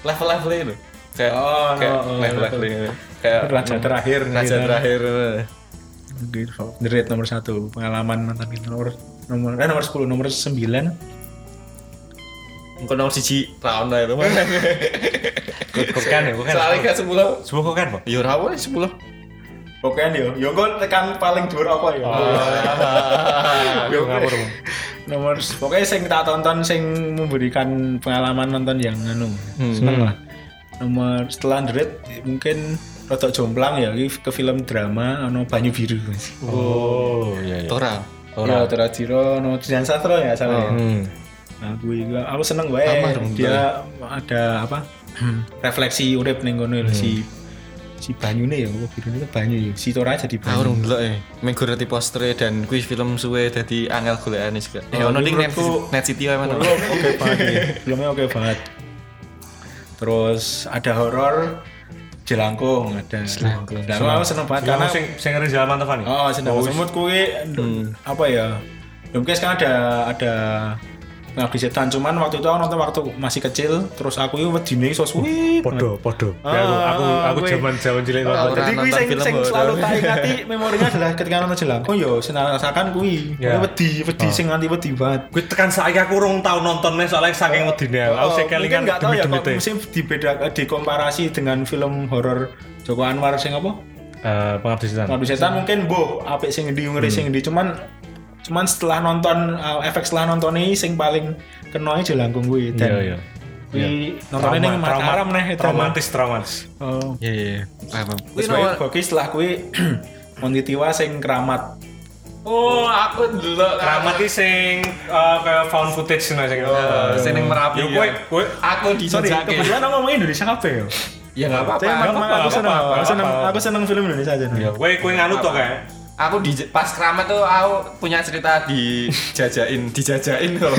[SPEAKER 1] Level-level lho. Kayak
[SPEAKER 3] Oh,
[SPEAKER 1] kayak
[SPEAKER 3] oh, oh,
[SPEAKER 1] level-level ini. Kayak
[SPEAKER 3] Raja terakhir.
[SPEAKER 1] raja
[SPEAKER 3] gitu.
[SPEAKER 1] terakhir.
[SPEAKER 3] Gitu. The Raid nomor satu, pengalaman nonton film nomor nomor eh, nomor 10, nomor 9
[SPEAKER 1] Engko nomor siji round ae to.
[SPEAKER 2] bukan ya bukan
[SPEAKER 1] Soalnya kan sepuluh.
[SPEAKER 2] Semua kok kan Pak?
[SPEAKER 1] Ya ora wae sepuluh.
[SPEAKER 3] Oke yo, yo kok ya, tekan paling dhuwur apa ya? Yo,
[SPEAKER 2] Ngapur,
[SPEAKER 3] oke. nomor pokoknya sing tak tonton sing memberikan pengalaman nonton yang anu seneng lah nomor setelah The Raid, mungkin rotok jomplang ya ini ke film drama ano banyu biru mas
[SPEAKER 2] Oh, iya iya.
[SPEAKER 1] Ora.
[SPEAKER 3] ya Torajiro no Trian Sastro ya salah ya
[SPEAKER 2] Hmm.
[SPEAKER 3] aku juga aku seneng wae
[SPEAKER 1] Kamar,
[SPEAKER 3] dia ada apa refleksi urip ning kono lho, si si banyune ya oh, biru itu banyu ya si Tora jadi
[SPEAKER 1] Aku
[SPEAKER 3] banyu
[SPEAKER 1] urung ndelok e. Menggurati postere dan kuis film suwe dadi angel golekane juga. Eh
[SPEAKER 3] Oh,
[SPEAKER 1] ono ning net,
[SPEAKER 3] menurutku-
[SPEAKER 1] net City wae mana.
[SPEAKER 3] Film oke banget ya. filmnya oke banget terus ada horor jelangkung ada jelangkung aku seneng banget
[SPEAKER 2] Karena
[SPEAKER 3] karena
[SPEAKER 2] sing sing Rizal Mantovan ya?
[SPEAKER 3] oh seneng semut kue apa ya ya mungkin sekarang ada ada ngabdi setan cuman waktu itu aku nonton waktu masih kecil terus aku itu wedine iso suwi Ah, banget.
[SPEAKER 2] Podo, podo. Ya, aku aku aku
[SPEAKER 3] gue-
[SPEAKER 2] zaman zaman cilik nonton.
[SPEAKER 1] Orang
[SPEAKER 3] jadi kuwi
[SPEAKER 1] nonton
[SPEAKER 3] sing
[SPEAKER 1] film
[SPEAKER 3] sing
[SPEAKER 1] horor.
[SPEAKER 3] selalu tak ingati memorinya adalah ketika nonton jelangkung yo senarasakan kuwi
[SPEAKER 2] Ya.
[SPEAKER 3] wedi wedi sing nganti wedi banget
[SPEAKER 2] Gue tekan saiki aku urung tau nontonnya soalnya saking medine aku. kan Aku
[SPEAKER 3] Oh,
[SPEAKER 2] sing kelingan
[SPEAKER 3] mungkin nggak tahu ya kok
[SPEAKER 2] demi-demite.
[SPEAKER 3] mesti dibeda eh, dikomparasi dengan film horor Joko Anwar sing apa?
[SPEAKER 2] Eh, pengabdi setan. Hmm.
[SPEAKER 3] Ngabdi Setan mungkin boh apik sing ndi ngeri sing ndi cuman cuman setelah nonton uh, efek setelah nonton ini sing paling kenoi jelangkung kuwi dan
[SPEAKER 2] Iya,
[SPEAKER 3] yeah,
[SPEAKER 2] iya. Trauma-
[SPEAKER 3] nontonnya ini
[SPEAKER 2] trauma-
[SPEAKER 3] Mataram nih itu.
[SPEAKER 2] Traumatis, traumatis.
[SPEAKER 3] Oh.
[SPEAKER 1] Iya iya. iya. Paham.
[SPEAKER 3] Terus
[SPEAKER 1] nomor-
[SPEAKER 3] bae bagi setelah kuwi Mondi Tiwa sing keramat.
[SPEAKER 1] Oh, aku ndelok
[SPEAKER 2] Keramat iki sing eh, kayak found footage ngono sing.
[SPEAKER 1] Sing ning Merapi.
[SPEAKER 2] Yo kowe
[SPEAKER 1] ya.
[SPEAKER 2] kowe
[SPEAKER 1] aku
[SPEAKER 3] Sorry,
[SPEAKER 1] dijajake.
[SPEAKER 3] kebetulan aku ngomong Indonesia kabeh ya.
[SPEAKER 1] Ya nggak apa-apa.
[SPEAKER 3] Tapi emang,
[SPEAKER 2] apa-apa,
[SPEAKER 3] emang aku
[SPEAKER 2] nggak
[SPEAKER 3] seneng,
[SPEAKER 2] apa-apa,
[SPEAKER 3] aku seneng,
[SPEAKER 2] nggak apa-apa.
[SPEAKER 3] aku seneng film Indonesia aja.
[SPEAKER 2] Ya, kue kue nganu toh kayak.
[SPEAKER 1] Aku di pas keramat tuh aku punya cerita dijajain, dijajain loh.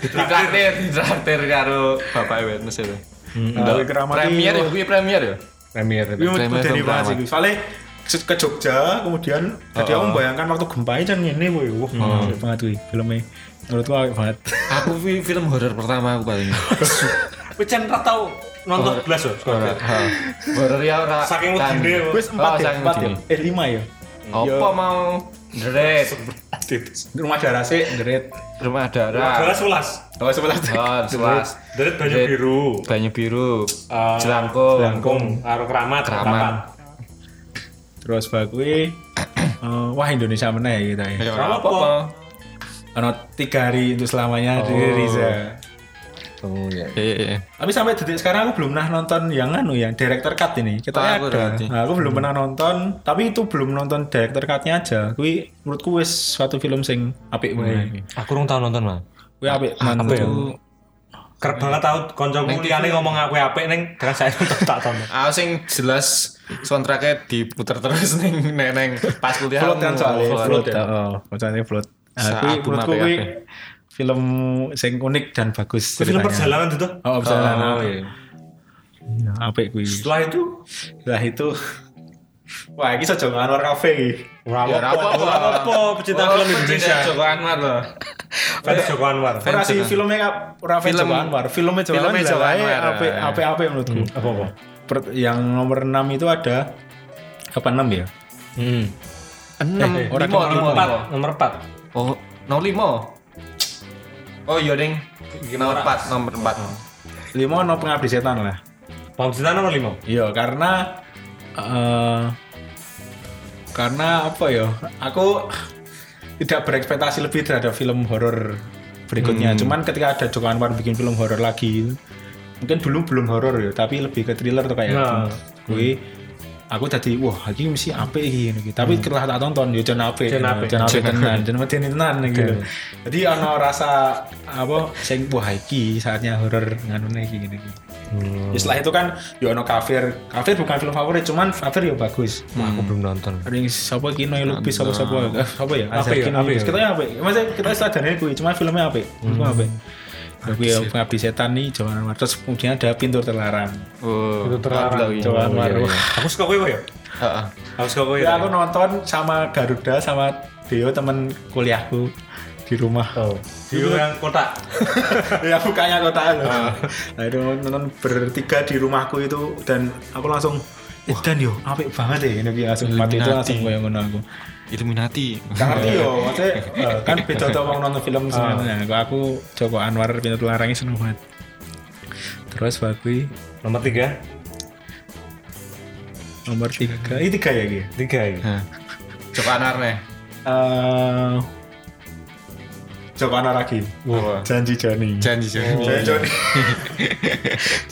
[SPEAKER 1] ditraktir, ditraktir karo Bapak Witness itu.
[SPEAKER 3] Dari Nah, keramat
[SPEAKER 1] Premier ya, kuwi premier ya.
[SPEAKER 2] Premier. itu.
[SPEAKER 3] Iya,
[SPEAKER 1] Premier
[SPEAKER 3] medeni
[SPEAKER 1] film
[SPEAKER 3] banget sih.
[SPEAKER 1] keramat.
[SPEAKER 3] Soalnya ke- ke Jogja, kemudian jadi
[SPEAKER 1] Oh,
[SPEAKER 3] aku membayangkan waktu gempa itu kan ini, boy. Wah,
[SPEAKER 1] Hmm.
[SPEAKER 3] asik banget wih, filmnya. Menurutku asik banget.
[SPEAKER 1] Aku kuwi film horor pertama aku paling.
[SPEAKER 2] Kue cen ra tau
[SPEAKER 1] Oh,
[SPEAKER 2] nonton belas loh.
[SPEAKER 1] Horor. ha. Horor ya ora.
[SPEAKER 2] Saking
[SPEAKER 1] kan.
[SPEAKER 2] legine, Bu.
[SPEAKER 3] Wes empat
[SPEAKER 1] Oh,
[SPEAKER 3] ya,
[SPEAKER 1] saking
[SPEAKER 3] empat ya,
[SPEAKER 1] legine.
[SPEAKER 3] eh lima ya.
[SPEAKER 1] Apa mau Dret,
[SPEAKER 3] Rumah darah sih, ngerit.
[SPEAKER 1] rumah darah.
[SPEAKER 2] Belas ulas.
[SPEAKER 3] Oh, sebelah
[SPEAKER 1] Oh, selas.
[SPEAKER 2] Dari baju
[SPEAKER 1] Dret.
[SPEAKER 2] biru.
[SPEAKER 1] Banyu biru,
[SPEAKER 2] Eh,
[SPEAKER 1] jelangkung,
[SPEAKER 2] Jelangkung. Karo keramat.
[SPEAKER 1] Keramat.
[SPEAKER 2] papat.
[SPEAKER 3] Terus bagui, eh, wah Indonesia menang ya kita ya.
[SPEAKER 1] Ya,
[SPEAKER 2] Kamu
[SPEAKER 1] apa
[SPEAKER 2] apa?
[SPEAKER 1] apa?
[SPEAKER 3] Ono tiga hari untuk selamanya di
[SPEAKER 1] Oh.
[SPEAKER 3] Riza.
[SPEAKER 1] Iya, iya.
[SPEAKER 3] Tapi sampai detik sekarang aku belum pernah nonton yang anu yang director cut ini. Kita
[SPEAKER 1] Ah,
[SPEAKER 3] ada.
[SPEAKER 1] aku Hmm. berarti.
[SPEAKER 3] Nah, aku belum pernah nonton, tapi itu belum nonton director cut-nya aja. Kuwi menurutku wis suatu film sing apik
[SPEAKER 1] Hmm.
[SPEAKER 3] banget.
[SPEAKER 2] Aku rung tau nonton mah.
[SPEAKER 3] Kuwi apik
[SPEAKER 2] Ah,
[SPEAKER 3] menurutku.
[SPEAKER 2] Kerep banget tau koncoku liyane ngomong aku apik ning dengan saya nonton tak tonton.
[SPEAKER 1] Aku Ah, sing jelas soundtracknya diputer terus neng neneng pas kuliah.
[SPEAKER 3] Float kan
[SPEAKER 1] aku-
[SPEAKER 3] soalnya,
[SPEAKER 1] float. ya?
[SPEAKER 3] float. Heeh, bacanya float. Nah,
[SPEAKER 1] Saat
[SPEAKER 3] kuwi
[SPEAKER 1] aku
[SPEAKER 3] menurutku
[SPEAKER 1] mape
[SPEAKER 3] kuwi
[SPEAKER 1] kabeh.
[SPEAKER 3] film sing unik dan bagus
[SPEAKER 2] Film
[SPEAKER 3] ceritanya.
[SPEAKER 2] perjalanan itu.
[SPEAKER 3] Oh, perjalanan. Nah,
[SPEAKER 2] Oh, iya.
[SPEAKER 3] Apik kuwi.
[SPEAKER 2] Setelah itu
[SPEAKER 3] Lah itu Wah, ini sejauh Anwar Cafe ini.
[SPEAKER 1] Ya,
[SPEAKER 2] Ora
[SPEAKER 1] apa apa,
[SPEAKER 2] apa pecinta
[SPEAKER 1] Oh,
[SPEAKER 2] film
[SPEAKER 1] pecinta
[SPEAKER 2] Indonesia.
[SPEAKER 1] Joko Anwar loh.
[SPEAKER 2] Fans Joko Anwar.
[SPEAKER 3] Ora sih
[SPEAKER 1] Joko.
[SPEAKER 3] filmnya ora
[SPEAKER 1] Film-
[SPEAKER 3] film Anwar, filmnya Jawa
[SPEAKER 1] filmnya
[SPEAKER 3] Anwar.
[SPEAKER 1] Jawa
[SPEAKER 3] Filmnya
[SPEAKER 1] Anwar.
[SPEAKER 3] apik apik apik menurutku.
[SPEAKER 2] Hmm, Apa apa?
[SPEAKER 3] Per- yang nomor 6 itu ada apa 6 ya?
[SPEAKER 2] Hmm.
[SPEAKER 1] Enam,
[SPEAKER 3] orang
[SPEAKER 1] Eh, lima,
[SPEAKER 2] Nomor
[SPEAKER 1] Oh, lima,
[SPEAKER 2] 4, nomor 4.
[SPEAKER 1] lima. Oh, nol lima. Oh iya ding. Nomor empat, nomor empat.
[SPEAKER 3] 5 no pengabdi setan lah.
[SPEAKER 2] Paham cerita nomor 5.
[SPEAKER 3] Iya, karena eh karena apa ya? Aku tidak berekspektasi lebih terhadap film horor berikutnya. Cuman ketika ada Joko Anwar bikin film horor lagi, mungkin dulu belum horor ya, tapi lebih ke thriller tuh kayak
[SPEAKER 2] Nah.
[SPEAKER 3] gue aku tadi wah iki mesti apik iki ngene iki. Tapi setelah tak tonton yo jan apik.
[SPEAKER 2] Jan apik.
[SPEAKER 3] Jan apik tenan, jan medeni tenan iki lho. Jadi ana rasa apa sing wah iki saatnya horor nganune iki ngene iki. Ya, setelah itu kan yo ono kafir. Kafir bukan film favorit, cuman kafir yo bagus.
[SPEAKER 1] Hmm.
[SPEAKER 2] Aku belum nonton.
[SPEAKER 3] Ada yang siapa kino yang lupis siapa siapa eh, siapa ya?
[SPEAKER 2] Apa ya?
[SPEAKER 3] Azhar Kino
[SPEAKER 2] Apa ya?
[SPEAKER 3] Lubis. Kita ya apa? Masa kita sadarnya kuwi, cuma filmnya apa? Cuma apa? Tapi ya pengabdi setan nih Jawa Anwar terus kemudian ada pintu terlarang.
[SPEAKER 1] Oh,
[SPEAKER 2] Itu terlarang.
[SPEAKER 1] empat lagi.
[SPEAKER 3] Jawa Anwar. Wah,
[SPEAKER 2] Aku suka kowe kowe ya.
[SPEAKER 1] Heeh.
[SPEAKER 2] Aku suka kowe.
[SPEAKER 3] Ya, aku nonton sama Garuda sama Deo temen kuliahku di rumah.
[SPEAKER 2] Oh. Di orang kota.
[SPEAKER 3] ya bukanya kota loh. Nah, itu nonton bertiga di rumahku itu dan aku langsung "Eh, dan yo apik banget ya ini kayak langsung mati itu langsung kayak ngono aku.
[SPEAKER 1] Illuminati.
[SPEAKER 3] Gak ngerti yo, maksudnya eh, kan beda tuh mau nonton film sebenarnya. Aku, aku Joko Anwar pintu larangnya seneng banget. Terus bagi
[SPEAKER 2] Nomor 3.
[SPEAKER 3] nomor tiga, ini tiga ya gitu.
[SPEAKER 2] 3 ya.
[SPEAKER 1] Hah. Joko Anwar nih.
[SPEAKER 3] Eh Joko Anwar lagi.
[SPEAKER 1] Wah.
[SPEAKER 3] Janji Joni.
[SPEAKER 1] Janji janji.
[SPEAKER 3] Jangan Joni.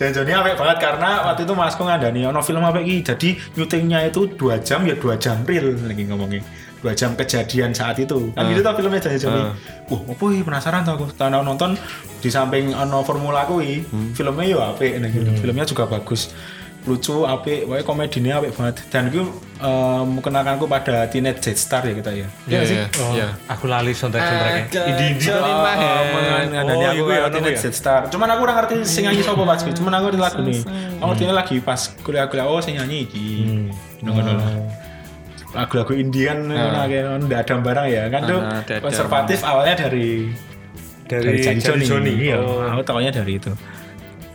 [SPEAKER 3] Jangan Joni apik banget karena waktu itu Masku ngandani ono film apik iki. Jadi syutingnya itu 2 jam ya 2 jam real lagi ngomongnya. 2 jam kejadian saat itu. Kan gitu tau filmnya Janji Joni. Wah, opo iki penasaran tau aku. Tahun nonton di samping ono formula kuwi, filmnya yo apik nek gitu. Filmnya juga bagus lucu apik wae komedinya apik banget dan itu eh, mengenakanku pada teenage star ya kita ya
[SPEAKER 1] Iya, iya. Iya.
[SPEAKER 2] Aku lali
[SPEAKER 3] Eh,
[SPEAKER 2] soundtrack-soundtracknya. Indi-indi.
[SPEAKER 1] Johnny
[SPEAKER 3] Oh,
[SPEAKER 1] Mahe.
[SPEAKER 3] mengenai
[SPEAKER 2] Oh,
[SPEAKER 3] aku
[SPEAKER 2] iku ya,
[SPEAKER 3] ngerti
[SPEAKER 2] iku ya.
[SPEAKER 3] Jet Star. Cuman aku ora ngerti sing nyanyi sapa Mas. Gus. Cuman aku ngerti lagu nih. Aku ngerti lagi pas kuliah-kuliah oh sing nyanyi iki.
[SPEAKER 2] Hmm.
[SPEAKER 3] Ngono-ngono lah. Lagu-lagu Indian
[SPEAKER 2] Ah.
[SPEAKER 3] ngono akeh ndak ada barang ya. Kan tuh
[SPEAKER 1] Ah, dadam.
[SPEAKER 3] konservatif awalnya dari
[SPEAKER 2] Dari Johnny Johnny.
[SPEAKER 3] Iya,
[SPEAKER 2] Oh.
[SPEAKER 3] aku tahunya dari itu.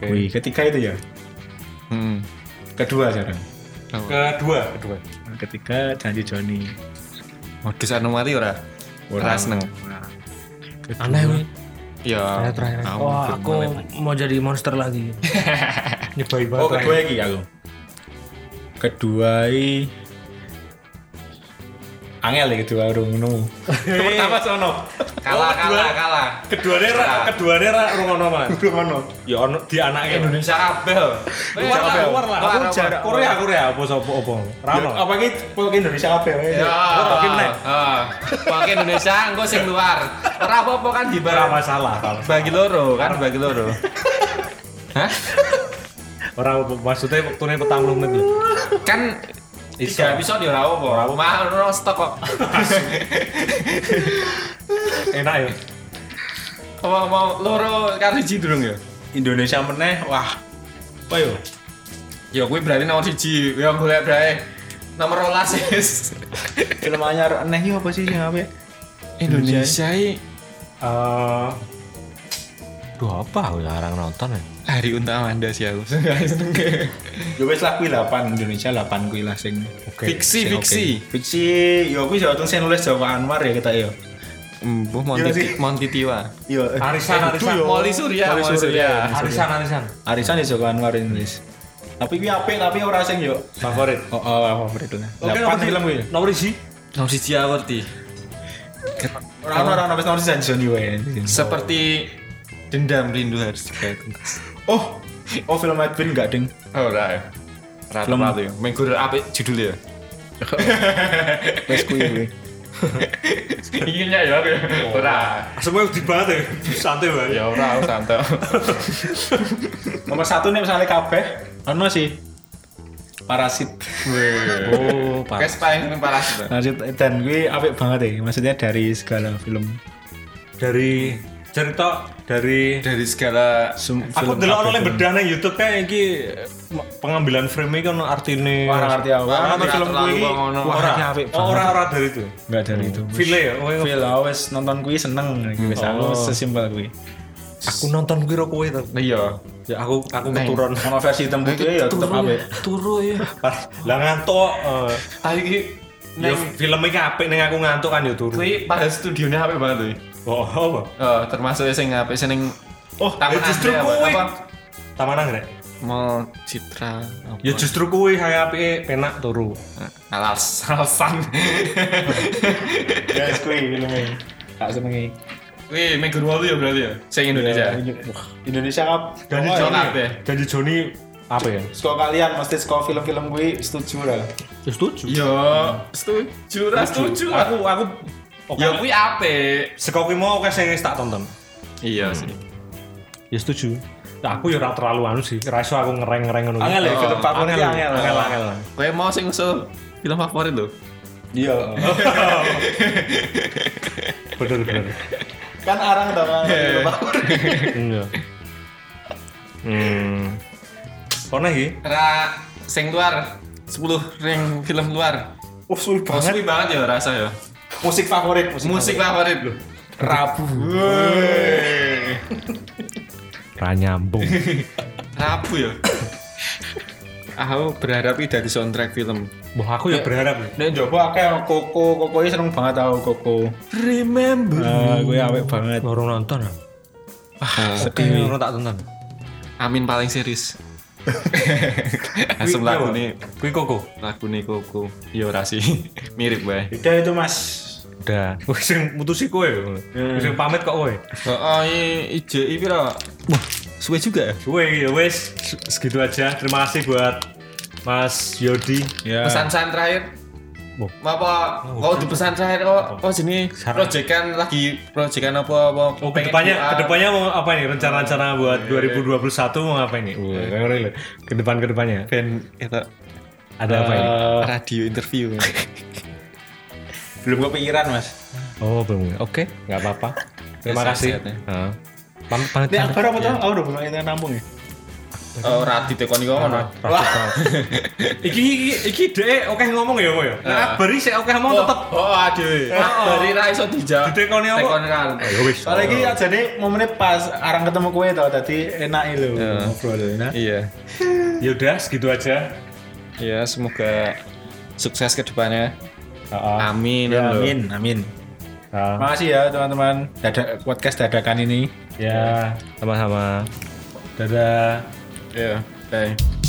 [SPEAKER 3] Wih, ketiga itu ya.
[SPEAKER 1] Hmm.
[SPEAKER 3] Kedua sekarang.
[SPEAKER 2] Kedua, kedua.
[SPEAKER 3] Ketiga Janji Joni.
[SPEAKER 1] Modus anomali ora? Ora seneng.
[SPEAKER 5] aneh weh.
[SPEAKER 1] Ya.
[SPEAKER 5] oh aku mau jadi monster lagi
[SPEAKER 2] Nyebai banget.
[SPEAKER 3] Oh, kedua iki aku. Kedua i Angel ya kedua urung ngono.
[SPEAKER 2] Pertama sono.
[SPEAKER 1] Kalah, kalah, kalah.
[SPEAKER 2] Keduane ra, keduane ra rungono man.
[SPEAKER 3] Urung ngono.
[SPEAKER 2] Ya ono di anake.
[SPEAKER 1] Indonesia kabeh.
[SPEAKER 2] Luar lah, luar lah.
[SPEAKER 1] Luar,
[SPEAKER 2] Aku
[SPEAKER 1] luar.
[SPEAKER 2] jarak Korea, Korea apa sapa apa. Ra ono.
[SPEAKER 3] apa ki pokoknya Indonesia apa
[SPEAKER 1] Ya,
[SPEAKER 3] ya?
[SPEAKER 1] ah, pakai Indonesia, engko sing luar. Ora apa-apa kan di
[SPEAKER 2] Ra
[SPEAKER 1] barang
[SPEAKER 2] masalah. ra masalah.
[SPEAKER 1] bagi loro, kan bagi loro. Hah?
[SPEAKER 2] Orang maksudnya waktunya petang puluh menit lho.
[SPEAKER 1] kan
[SPEAKER 2] Iso.
[SPEAKER 1] tiga episode ya ora apa ora apa mah ora stok kok
[SPEAKER 2] Enak ya.
[SPEAKER 1] apa mau loro karo siji durung ya
[SPEAKER 3] Indonesia meneh wah apa yo
[SPEAKER 1] ya kuwi berarti nomor siji ya golek berarti nomor 12 wis
[SPEAKER 3] film anyar aneh yo apa sih sing apa ya?
[SPEAKER 1] Indonesia i
[SPEAKER 2] Eh Duh apa aku larang nonton ya?
[SPEAKER 1] hari untuk Amanda sih aku seneng
[SPEAKER 3] Yo ya wis lah kuwi 8 Indonesia 8 kuwi lah sing
[SPEAKER 2] Oke.
[SPEAKER 1] fiksi
[SPEAKER 3] sing oke.
[SPEAKER 1] fiksi
[SPEAKER 3] Fiksi yo kuwi jawatan sing nulis Jawa Anwar ya kita yo.
[SPEAKER 1] Mbuh
[SPEAKER 3] Monti-
[SPEAKER 1] Monti Tiwa.
[SPEAKER 3] Yo eh,
[SPEAKER 2] Arisan,
[SPEAKER 3] eh,
[SPEAKER 2] arisan.
[SPEAKER 1] Iya
[SPEAKER 3] yo.
[SPEAKER 1] Moli Surya,
[SPEAKER 3] Moli
[SPEAKER 1] Moli
[SPEAKER 3] Surya.
[SPEAKER 1] Surya.
[SPEAKER 2] Arisan arisan.
[SPEAKER 3] Arisan ya Joko Anwar yang nulis. Tapi kuwi apik tapi ora sing yo.
[SPEAKER 2] Favorit.
[SPEAKER 3] Oh, oh, favorit lah.
[SPEAKER 2] Oke,
[SPEAKER 3] Lapan
[SPEAKER 2] nomor
[SPEAKER 3] film kuwi.
[SPEAKER 2] Nomor siji.
[SPEAKER 1] Nomor siji aku ngerti.
[SPEAKER 3] Ora ora ora wis nomor season Johnny Wayne.
[SPEAKER 1] Seperti dendam rindu harus digagas.
[SPEAKER 3] Oh, oh film Advent enggak ding.
[SPEAKER 1] Oh, ora. ya? Ora
[SPEAKER 3] Film-
[SPEAKER 1] tepat ya. Minggu apik ya? judulnya.
[SPEAKER 3] Wes kuwi kuwi.
[SPEAKER 1] Inginnya ya aku. Ora.
[SPEAKER 2] Semua udah banget ya. Santai banget.
[SPEAKER 1] Ya ora aku santai.
[SPEAKER 3] Nomor satu nih misalnya kabeh, ono sih parasit.
[SPEAKER 2] Oh, Pak.
[SPEAKER 1] Kes paling seneng paras.
[SPEAKER 3] Parasit dan gue apik banget ya, maksudnya dari segala film.
[SPEAKER 2] Dari cerita dari
[SPEAKER 1] Dari segala
[SPEAKER 3] Sem-
[SPEAKER 2] Aku
[SPEAKER 3] film
[SPEAKER 2] delok ono
[SPEAKER 3] kabeh
[SPEAKER 2] lek
[SPEAKER 3] film.
[SPEAKER 2] bedane YouTube kayak iki eh, pengambilan frame iki ono artine.
[SPEAKER 3] Wah, ora ngerti aku.
[SPEAKER 2] Ora
[SPEAKER 3] Ora
[SPEAKER 2] nonton
[SPEAKER 1] ngerti
[SPEAKER 2] film
[SPEAKER 1] aku
[SPEAKER 2] kuwi.
[SPEAKER 1] terlalu ngono.
[SPEAKER 2] Wah,
[SPEAKER 3] Ora.
[SPEAKER 2] Oh, ora ora dari itu.
[SPEAKER 3] Enggak dari itu.
[SPEAKER 2] File ya. Oh, iya.
[SPEAKER 3] Film aku wes nonton gue seneng, wes aku sesimpel gue.
[SPEAKER 2] Aku nonton kuwi ro kowe to.
[SPEAKER 1] Iya.
[SPEAKER 2] Ya aku aku keturun.
[SPEAKER 3] Ono versi hitam putih ya tetep apik.
[SPEAKER 5] Turu ya.
[SPEAKER 2] Lah ngantuk. eh.
[SPEAKER 1] Tapi iki
[SPEAKER 2] Ya
[SPEAKER 1] neng
[SPEAKER 2] film iki apik ning aku ngantuk kan ya turu.
[SPEAKER 1] kuwi pada studione apik banget kuwi.
[SPEAKER 2] Oh, apa?
[SPEAKER 1] Oh, termasuk sing apik seneng
[SPEAKER 2] Oh, ya
[SPEAKER 1] Taman
[SPEAKER 2] justru
[SPEAKER 1] Anggrek apa?
[SPEAKER 2] kuwi.
[SPEAKER 1] Apa?
[SPEAKER 2] Taman Anggrek.
[SPEAKER 1] mau citra apa?
[SPEAKER 2] Ya justru kuwi saya apike penak turu.
[SPEAKER 1] alas alasan
[SPEAKER 3] Guys, gue filmnya. Tak senengi.
[SPEAKER 1] wih Megur Walu ya berarti ya sing Indonesia
[SPEAKER 3] Wah, Indonesia kap.
[SPEAKER 2] Ganti
[SPEAKER 3] Oh,
[SPEAKER 1] Joko
[SPEAKER 2] Joni.
[SPEAKER 1] apa ya?
[SPEAKER 2] Ganti Joni apa ya?
[SPEAKER 3] Suka kalian mesti suka film-film gue setuju lah.
[SPEAKER 2] Setuju.
[SPEAKER 1] yo setuju lah setuju lah
[SPEAKER 2] Aku aku
[SPEAKER 1] ya kui ape
[SPEAKER 2] Sekau kuwi mau oke sing wis tak tonton.
[SPEAKER 1] iya sih
[SPEAKER 2] Ya setuju. Nah, aku ya ora terlalu anu sih. Ra iso aku ngereng-ngereng ngono.
[SPEAKER 3] Angel ya, film favorit
[SPEAKER 2] Angel,
[SPEAKER 3] angel.
[SPEAKER 2] angel, angel.
[SPEAKER 1] kowe mau sing usul film favorit lo
[SPEAKER 3] Iya.
[SPEAKER 2] Bener bener.
[SPEAKER 3] Kan arang tau kan.
[SPEAKER 2] Iya. Hmm. Kono iki?
[SPEAKER 1] ra sing luar 10 ring film luar
[SPEAKER 3] Wah, sulit
[SPEAKER 1] Oh, suwi banget ya rasa ya
[SPEAKER 3] Musik favorit, musik.
[SPEAKER 1] musik favorit lo
[SPEAKER 3] Rabu.
[SPEAKER 2] Ra nyambung.
[SPEAKER 1] Rabu ya aku berharap ini dari soundtrack film
[SPEAKER 2] Wah, aku ya berharap. nih.
[SPEAKER 3] Nek njobo akeh koko, koko iki seneng banget tau koko.
[SPEAKER 1] remember
[SPEAKER 3] Ah, gue awet banget.
[SPEAKER 2] Baru nonton. ah. Sedih ora tak tonton.
[SPEAKER 1] Amin paling serius asem lagu nih
[SPEAKER 2] Kuwi koko.
[SPEAKER 1] lagu nih koko yo rasi mirip bae
[SPEAKER 3] Beda itu Mas.
[SPEAKER 2] Udah. Wis sing mutusi kowe. Wis sing pamit kok kowe.
[SPEAKER 1] oh, oh i ije i pira wah suwe juga ya
[SPEAKER 2] Kowe ya wis segitu aja. Terima kasih buat Mas Yodi.
[SPEAKER 1] Eh.
[SPEAKER 3] Ya.
[SPEAKER 1] pesan-pesan terakhir
[SPEAKER 2] Wah.
[SPEAKER 1] apa kau di pesan terakhir kok kok sini
[SPEAKER 2] Saran.
[SPEAKER 1] proyekan lagi proyekan apa apa
[SPEAKER 2] Oh,
[SPEAKER 1] pengen
[SPEAKER 2] kedepannya,
[SPEAKER 1] doa.
[SPEAKER 2] kedepannya mau apa nih rencana-rencana
[SPEAKER 3] Iya,
[SPEAKER 2] buat 2021 mau apa ini? Wah, kayak ngeri loh. ke depan kedepannya
[SPEAKER 1] ben itu
[SPEAKER 2] ada apa ini?
[SPEAKER 3] Eh,
[SPEAKER 1] radio interview
[SPEAKER 3] Belum kepikiran, Mas.
[SPEAKER 2] Oh belum. Oke, nggak apa-apa. Terima
[SPEAKER 1] Ya,
[SPEAKER 2] kasih.
[SPEAKER 1] sehat-sehat ya.
[SPEAKER 2] Heeh. Pamit pamit.
[SPEAKER 3] Nek
[SPEAKER 2] pamit.
[SPEAKER 3] akbar apa tau? Aku udah belum kita nampung ya.
[SPEAKER 1] oh rati tekoni kok ngono
[SPEAKER 2] Wah. iki iki iki deh oke ngomong ya kok ya. Nah, beri sih oke ngomong tetep.
[SPEAKER 1] oh aduh dari ra iso dijawab
[SPEAKER 2] Ditekoni apa? Oh,
[SPEAKER 1] tekoni kan
[SPEAKER 2] Ya wis.
[SPEAKER 3] Soalnya ini jadi momennya pas arang ketemu kue tau, tadi enak itu ngobrol enak.
[SPEAKER 1] iya
[SPEAKER 2] Ya udah segitu aja.
[SPEAKER 1] ya semoga sukses Iya, kedepannya
[SPEAKER 2] Heeh.
[SPEAKER 1] amin
[SPEAKER 3] Ya,
[SPEAKER 1] lho.
[SPEAKER 3] amin, amin.
[SPEAKER 2] Heeh.
[SPEAKER 3] Makasih ya teman-teman. Dada, podcast dadakan ini.
[SPEAKER 2] Ya, sama-sama. Dadah.
[SPEAKER 1] iya. yeah okay